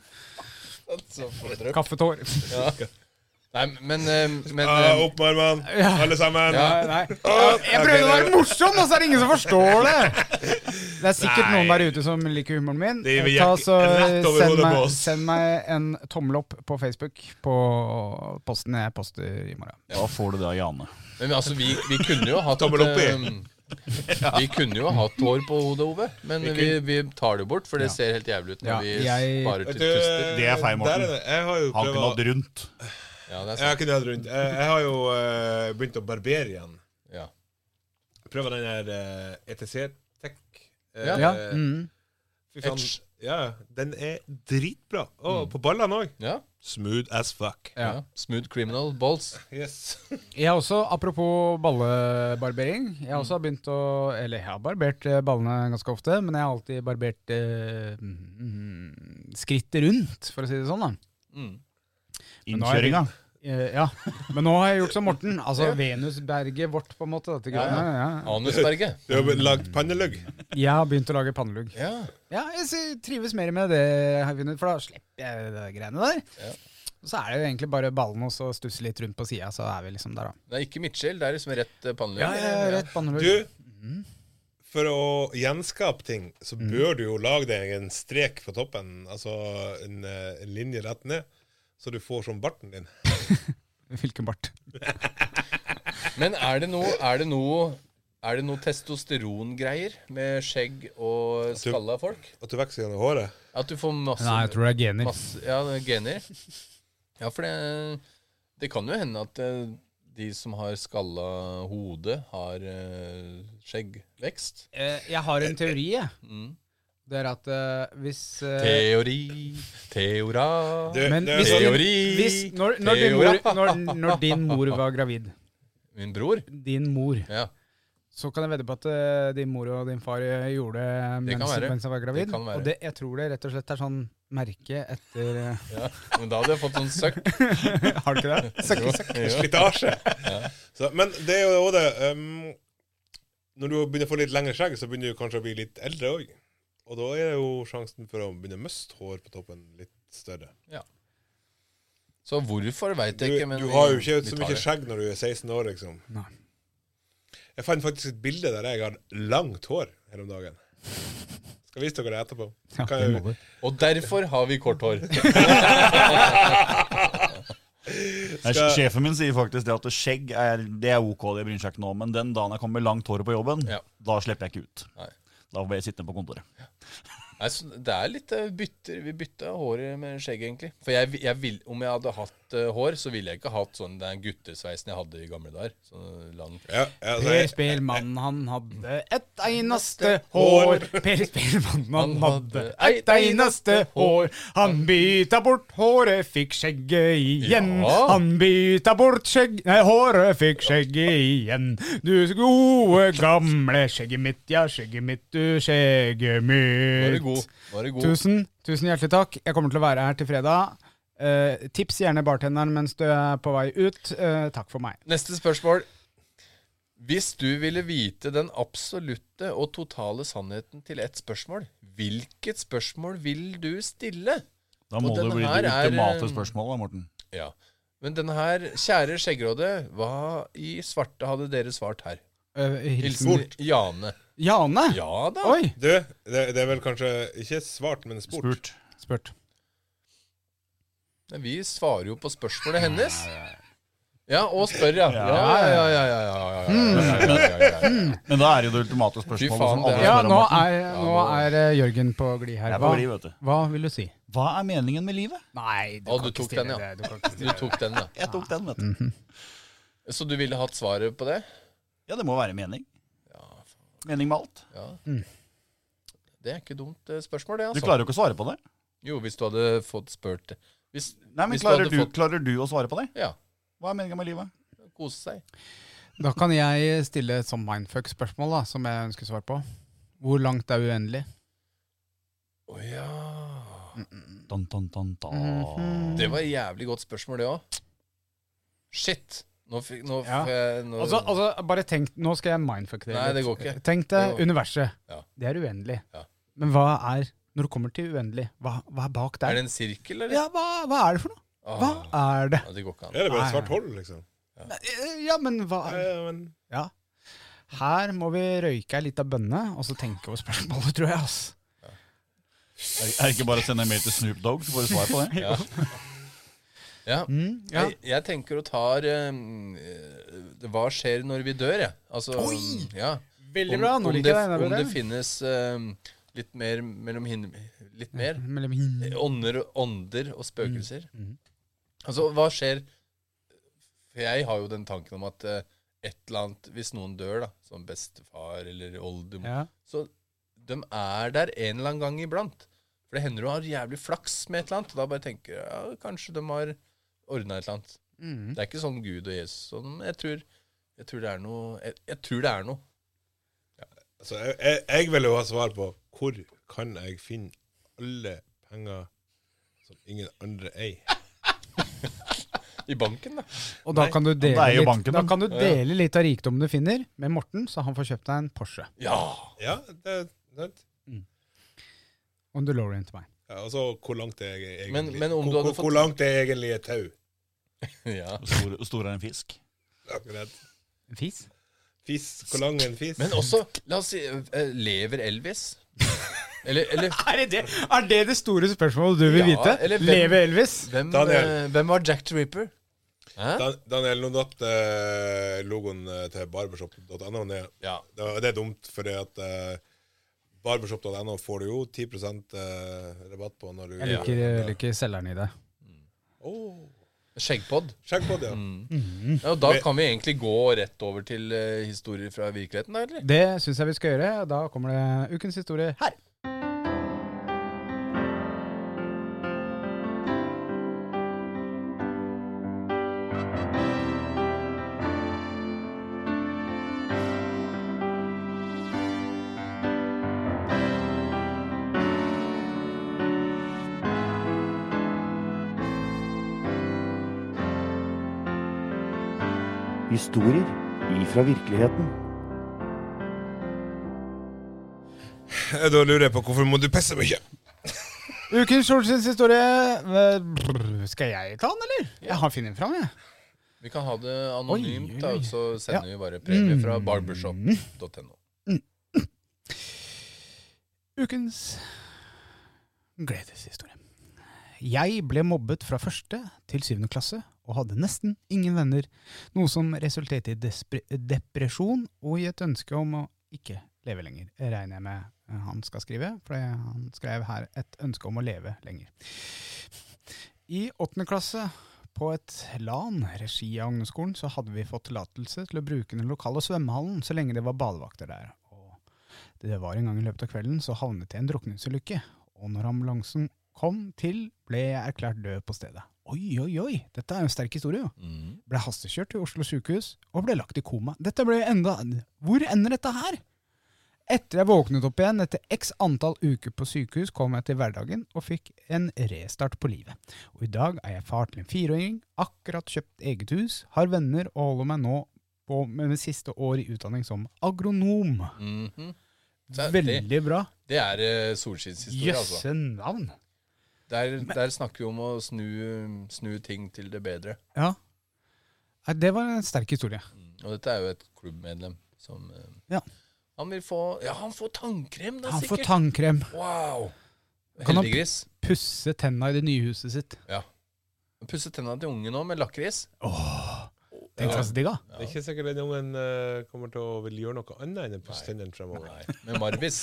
Så får dere-
Kaffetår.
Nei, men, eh, men
Ah,
eh,
opp med armene, alle sammen.
Ja.
Nei. Jeg prøvde å være morsom, og så er det ingen som forstår det! Det er sikkert
Nei.
noen der ute som liker humoren min.
Det gir vi
Ta
jakke-
så
rett over
send,
hodet
meg,
på oss.
send meg en tommel opp på Facebook på posten jeg poster i morgen.
Da får du det av Jane.
Men altså, vi, vi kunne jo hatt
Tommel opp i.
eh, Vi kunne jo hatt hår på hodet, Ove, men vi, vi tar det bort, for det ser helt jævlig ut når
Ja,
vi
jeg-
bare
Vet
tu-
du,
tuster.
Det er feil, Morten.
der er det. Jeg har jo
Har ikke
prøvd
nådd rundt.
Ja, det er
Jeg har
sant.
ikke nådd rundt. Jeg, jeg har jo eh, begynt å barbere igjen.
Ja.
Prøver den her eh, ETC Tech. eh,
Ja.
Ja, mm.
fy faen.
Edge.
Ja, den er dritbra. Og på ballene òg.
Ja.
Smooth as fuck.
ja. Smooth criminal balls.
Yes.
Jeg har også, apropos ballebarbering Jeg har også begynt å Eller jeg har barbert eh, ballene ganske ofte, men jeg har alltid barbert eh, mm, skrittet rundt, for å si det sånn. da
Mm.
Men nå er det-
Innkjøringa.
Eh, Ja, Men nå har jeg gjort som Morten. Altså Venusberget vårt, på en måte. Dette
Ja, ja.
greiene. Ja, ja.
Anusberget.
Du har lagd pannelugg.
Jeg har begynt å lage pannelugg.
Ja.
Ja, jeg sy- trives mer med det, jeg har funnet, for da slipper jeg de greiene der.
Ja.
Og Så er det jo egentlig bare ballen og så stusse litt rundt på sida, så er vi liksom der, da.
Det er ikke midtskill, det er liksom rett eh, pannelugg.
rett pannelugg.
Du, Mm. for å gjenskape ting, så
Mm.
bør du jo lage deg en strek på toppen. Altså en, eh, en linje rett ned, så du får som barten din.
Hvilken bart.
Men er det noe Er det noe er det noe testosterongreier med skjegg og skalla folk?
At du vokser gjennom håret.
At du får masse
Nei, jeg tror det er gener.
Masse, ja, det er gener. Ja, for det, det kan jo hende at eh, de som har skalla hode, har eh, skjeggvekst.
Eh, Jeg har en teori, jeg.
Mm.
Det er at eh, hvis eh,
Teori, teora
Det,
Ah. Men
det, sånn
hvis-
det,
Teori,
hvis, når, når, din mor,
teora.
når, når din mor var gravid
Min bror?
Din mor.
Ja,
Så kan jeg vedde på at eh, din mor og din far eh, gjorde det
Det kan
mens,
være.
mens jeg var gravid.
kan være.
Og det, jeg tror det rett og slett er sånn merke etter eh,
ja. Men da hadde jeg fått sånn søkk.
(laughs) Har du ikke det?
Jo, jo.
slitasje.
(laughs)
Så, men det er jo også det um, Når du begynner å få litt lengre skjegg, så begynner du kanskje å bli litt eldre òg. Og da er jo sjansen for å begynne å miste hår på toppen litt større.
Så hvorfor veit
Du,
jeg ikke, men
du
vi-
har jo ikke
vi
så
tar
mye
det.
skjegg når du er 16 år, liksom.
Nei.
Jeg fant faktisk et bilde der jeg har langt hår her om dagen. Skal vise dere det etterpå. Kan jeg-
Og derfor har vi kort hår.
(laughs)
Nei,
Skal-
Sjefen min sier faktisk det at skjegg er, det er ok, det bryr han seg ikke noe om. Men den dagen jeg kommer med langt hår på jobben,
Ja.
da slipper jeg ikke ut.
Nei.
Da blir jeg sittende på kontoret.
Nei, så det er litt eh, bytter, Vi bytta håret med skjegg, egentlig. For jeg, vi- jeg vil, om jeg hadde hatt eh, hår, så ville jeg ikke hatt sånn den guttesveisen jeg hadde i gamle dager. Sånn lang
Ja, ja, altså,
Per
jeg,
Spelmann, han hadde et eneste hår. Per Spelmann, han hadde et eneste hår. Han bytta bort håret, fikk skjegget igjen.
Ja.
Han bytta bort skjegg... Nei, håret fikk skjegget igjen. Du gode, gamle skjegget mitt, ja, skjegget mitt, du, skjegget mitt.
Nå er du god. Nå er du god.
Tusen, tusen hjertelig takk. Jeg kommer til å være her til fredag. Eh, tips gjerne bartenderen mens du er på vei ut. Eh, takk for meg.
Neste spørsmål. Hvis du ville vite den absolutte og totale sannheten til ett spørsmål, hvilket spørsmål vil du stille?
Da
Og
må det
denne
bli
her
det
er,
ultimate
eh,
spørsmålet, da, Morten.
Ja. Men denne her, kjære skjeggråde, hva i svarte hadde dere svart her?
Eh, hilsen
Hilsen Jane.
Jane!
Ja da.
Oi!
du, det, det er vel kanskje ikke svart, men spurt.
Spurt.
Spurt.
Men Vi svarer jo på spørsmålet hennes. Ja, og spør, ja. Ja, ja, ja, ja, ja, ja, ja, ja, ja, ja, ja, ja.
Men da er det jo det ultimate
Fy
spørsmålet
faen,
som alle
det er-
Ja,
spør om.
nå
Morten.
er, nå er eh, Jørgen på glid her.
Jeg er på
Hva,
glid, vet du.
hva vil du si?
Hva er meningen med livet?
Nei, du
Å,
kan
du
ikke
tok
stille
den,
det.
ja.
Du kan ikke
Du
stille det.
tok den, ja.
Jeg tok den, vet du.
Så du ville hatt svaret på det?
Ja, det må være mening. Mening med alt.
Ja. Det er ikke dumt eh, spørsmål, det,
Du
altså.
klarer jo ikke å svare på det.
Jo, hvis du hadde fått spurt det. Hvis,
Nei, men
hvis
klarer
hadde
du,
fått-
klarer du å svare på det?
Ja.
Hva er meningen med livet?
Kose seg.
Da kan jeg stille et sånn mindfuck-spørsmål da, som jeg ønsker svar på. Hvor langt er uendelig?
Å ja.
Dun, dun, dun, dun.
Mhm.
Det var et jævlig godt spørsmål, det òg. Shit. Nå fikk nå,
Ja.
fikk jeg- nå,
Altså, altså, bare tenk, Nå skal jeg mindfuck det.
Nei,
litt.
det går ikke.
Tenk
Det
deg
går-
universet.
Ja.
Det er uendelig.
Ja.
Men hva er, når det kommer til uendelig, hva, hva er bak
Er
der?
det en Ah. sirkel, eller?
Ja, hva, hva er det for noe?
Åh,
Hva er det?
Ja, det går ikke an.
Er det bare
Nei,
et svart
nei.
hull, liksom?
Eh, Ja, men hva
Ja, ja, men
Ja. Her må vi røyke ei lita bønne, og så tenke over spørsmålet, (laughs) tror jeg. ass.
Er er det ikke bare å sende en mail til Snoop Dogg, så får du svar på (laughs) det?
Ja. Ja.
Mm, ja.
Jeg, jeg tenker å ta ehm, eh, Hva skjer når vi dør, jeg. Altså,
Oi!
Ja.
Veldig bra. Nå
om,
liker
det,
jeg
om det
den.
finnes eh, litt mer mellom hin... Litt mer? eh,
Mellom hin-
Ånder, og- ånder og spøkelser.
Mm.
Altså, hva skjer For jeg har jo den tanken om at eh, et eller annet Hvis noen dør, da, som bestefar eller oldemor
Ja.
Så de er der en eller annen gang iblant. For det hender du har jævlig flaks med et eller annet, og da bare tenker jeg ja, kanskje de har ordna et eller annet.
Mm.
Det er ikke sånn Gud og Jesus sånn, jeg, tror, jeg tror det er noe jeg, jeg tror det er noe.
altså, jeg, jeg, jeg vil jo ha svar på hvor kan jeg finne alle penger som ingen andre eier?
I banken, da.
Og da
Nei,
kan, du dele
er jo
litt,
banken,
da
da.
kan du dele litt av rikdommen du finner, med Morten, så han får kjøpt deg en Porsche
Ja!
Ja, det er sant.
og en DeLorean til meg.
Ja, altså, hvor langt er jeg egentlig?
Men- men om du
hvor,
hadde
hvor, hvor
fått-
langt er egentlig et tau?
(laughs) ja.
Hvor stor, hvor stor er en fisk?
Akkurat.
En fis?
Fisk, hvor lang er en fisk?
Men også, la oss si eh, Lever Elvis? Eller, eller
Er det det, er det det store spørsmålet du vil
Ja,
vite?
eller hvem-
Leve Elvis?
hvem,
Daniel.
eh, hvem var Jack the Ripper? Hæ?
Dan Daniel, nå datt eh, logoen eh, til barbershop.no ned.
Ja.
Det, var- det er dumt, fordi at eh, barbershop.no får du jo 10 eh, rabatt på når du
Jeg liker, jeg liker selgeren i det.
Åh,
Skjeggpod.
Sjekk på det, ja.
Mm. Ja, og da kan vi egentlig gå rett over til eh, historier fra virkeligheten, da, eller?
Det syns jeg vi skal gjøre. Da kommer det ukens historie her.
Historier ifra virkeligheten.
(laughs) Da lurer jeg på hvorfor må du pisse mye?
Ukens Solskins historie eh, brr, Skal jeg ta den, eller? Jeg har funnet den fram, jeg.
Vi kan ha det
Oi,
anonymt,
oi, Mm.
da,
oi.
så sender vi bare premie fra barbershop.no.
Ukens gledeshistorie. Jeg ble mobbet fra første til syvende klasse og hadde nesten ingen venner, noe som resulterte i despre- depresjon og i et ønske om å ikke leve lenger, regner jeg med eh, han skal skrive, for det- han skrev her et ønske om å leve lenger. I åttende klasse på et LAN, regi av ungdomsskolen, så hadde vi fått tillatelse til å bruke den lokale svømmehallen så lenge det var badevakter der. Og det var en gang i løpet av kvelden så havnet jeg i en drukningsulykke, og når ambulansen kom til, ble jeg erklært død på stedet. Oi, oi, oi, dette er jo en sterk historie, jo.
Mm.
Ble hastekjørt til Oslo sykehus, og ble lagt i koma. Dette ble enda... Hvor ender dette her? Etter jeg våknet opp igjen etter x antall uker på sykehus, kom jeg til hverdagen og fikk en restart på livet. Og i dag er jeg far til en fireåring, akkurat kjøpt eget hus, har venner og holder meg nå på med mitt siste år i utdanning som agronom.
Mhm. Så det,
Veldig bra.
det er eh, solskinnshistorie, altså.
Jøsse navn!
Der, der snakker vi om å snu, snu ting til det bedre.
Ja. Nei, Det var en sterk historie.
Og dette er jo et klubbmedlem som eh,
Ja.
Han vil få Ja, han får tannkrem, da,
Han får
sikkert!
tannkrem.
wow!
Kan han-
Heldiggris.
Pusse tenna i det nye huset sitt.
Han pusser tenna til ungen nå med lakris.
Tenk deg så digg, da.
Det er ikke sikkert den ungen eh, kommer til å vil gjøre noe annet enn å pusse tennene fremover.
Nei, med Marvis.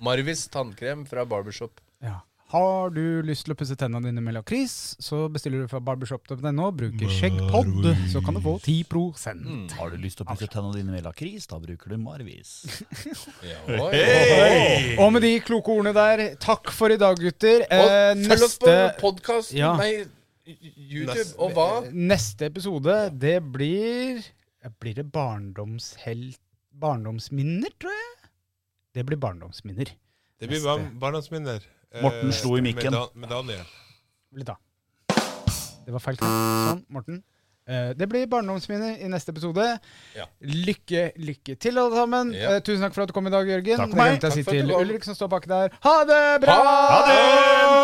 Marvis tannkrem fra Barbershop.
Ja. Har du lyst til å pusse tenna dine med lakris, så bestiller du fra barbershop.no, bruker skjeggpod, så kan du få 10
Mm.
Har du lyst til å pusse tennene dine med lakris, da bruker du Marvis.
Ja, oi.
Og med de kloke ordene der, takk for i dag, gutter.
Og
Eh,
følg oss på
neste,
podkast,
Ja.
nei, YouTube
Neste-
og hva?
neste episode, det blir Blir det barndomshelt Barndomsminner, tror jeg? Det blir barndomsminner.
Det blir
Neste.
bar- barndomsminner. eh,
Morten slo i mikken.
Med, da med Daniel.
Litt da. Det var feil. Sånn, Morten. Eh, det blir barndomsminner i neste episode.
Ja.
Lykke, lykke til, alle sammen.
Ja.
Eh, tusen takk for at du kom i dag, Jørgen.
Takk for
Det
meg.
glemte jeg å si
Takk for at du
til
kom.
Ulrik som står bak der. Ha det bra!
Ha
det!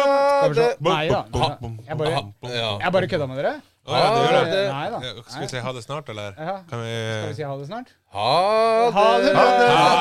Skal vi se.
Bom,
Nei
bom,
da.
bom, bom,
Jeg bare,
bom, bom.
Ja.
jeg bare kødda med dere.
Å, ja, det gjør det.
Nei da.
Ja, Skal vi si ha det snart, eller?
Ja.
Kan vi
Skal vi si ha det snart?
Ha det!
Ha det!
Ha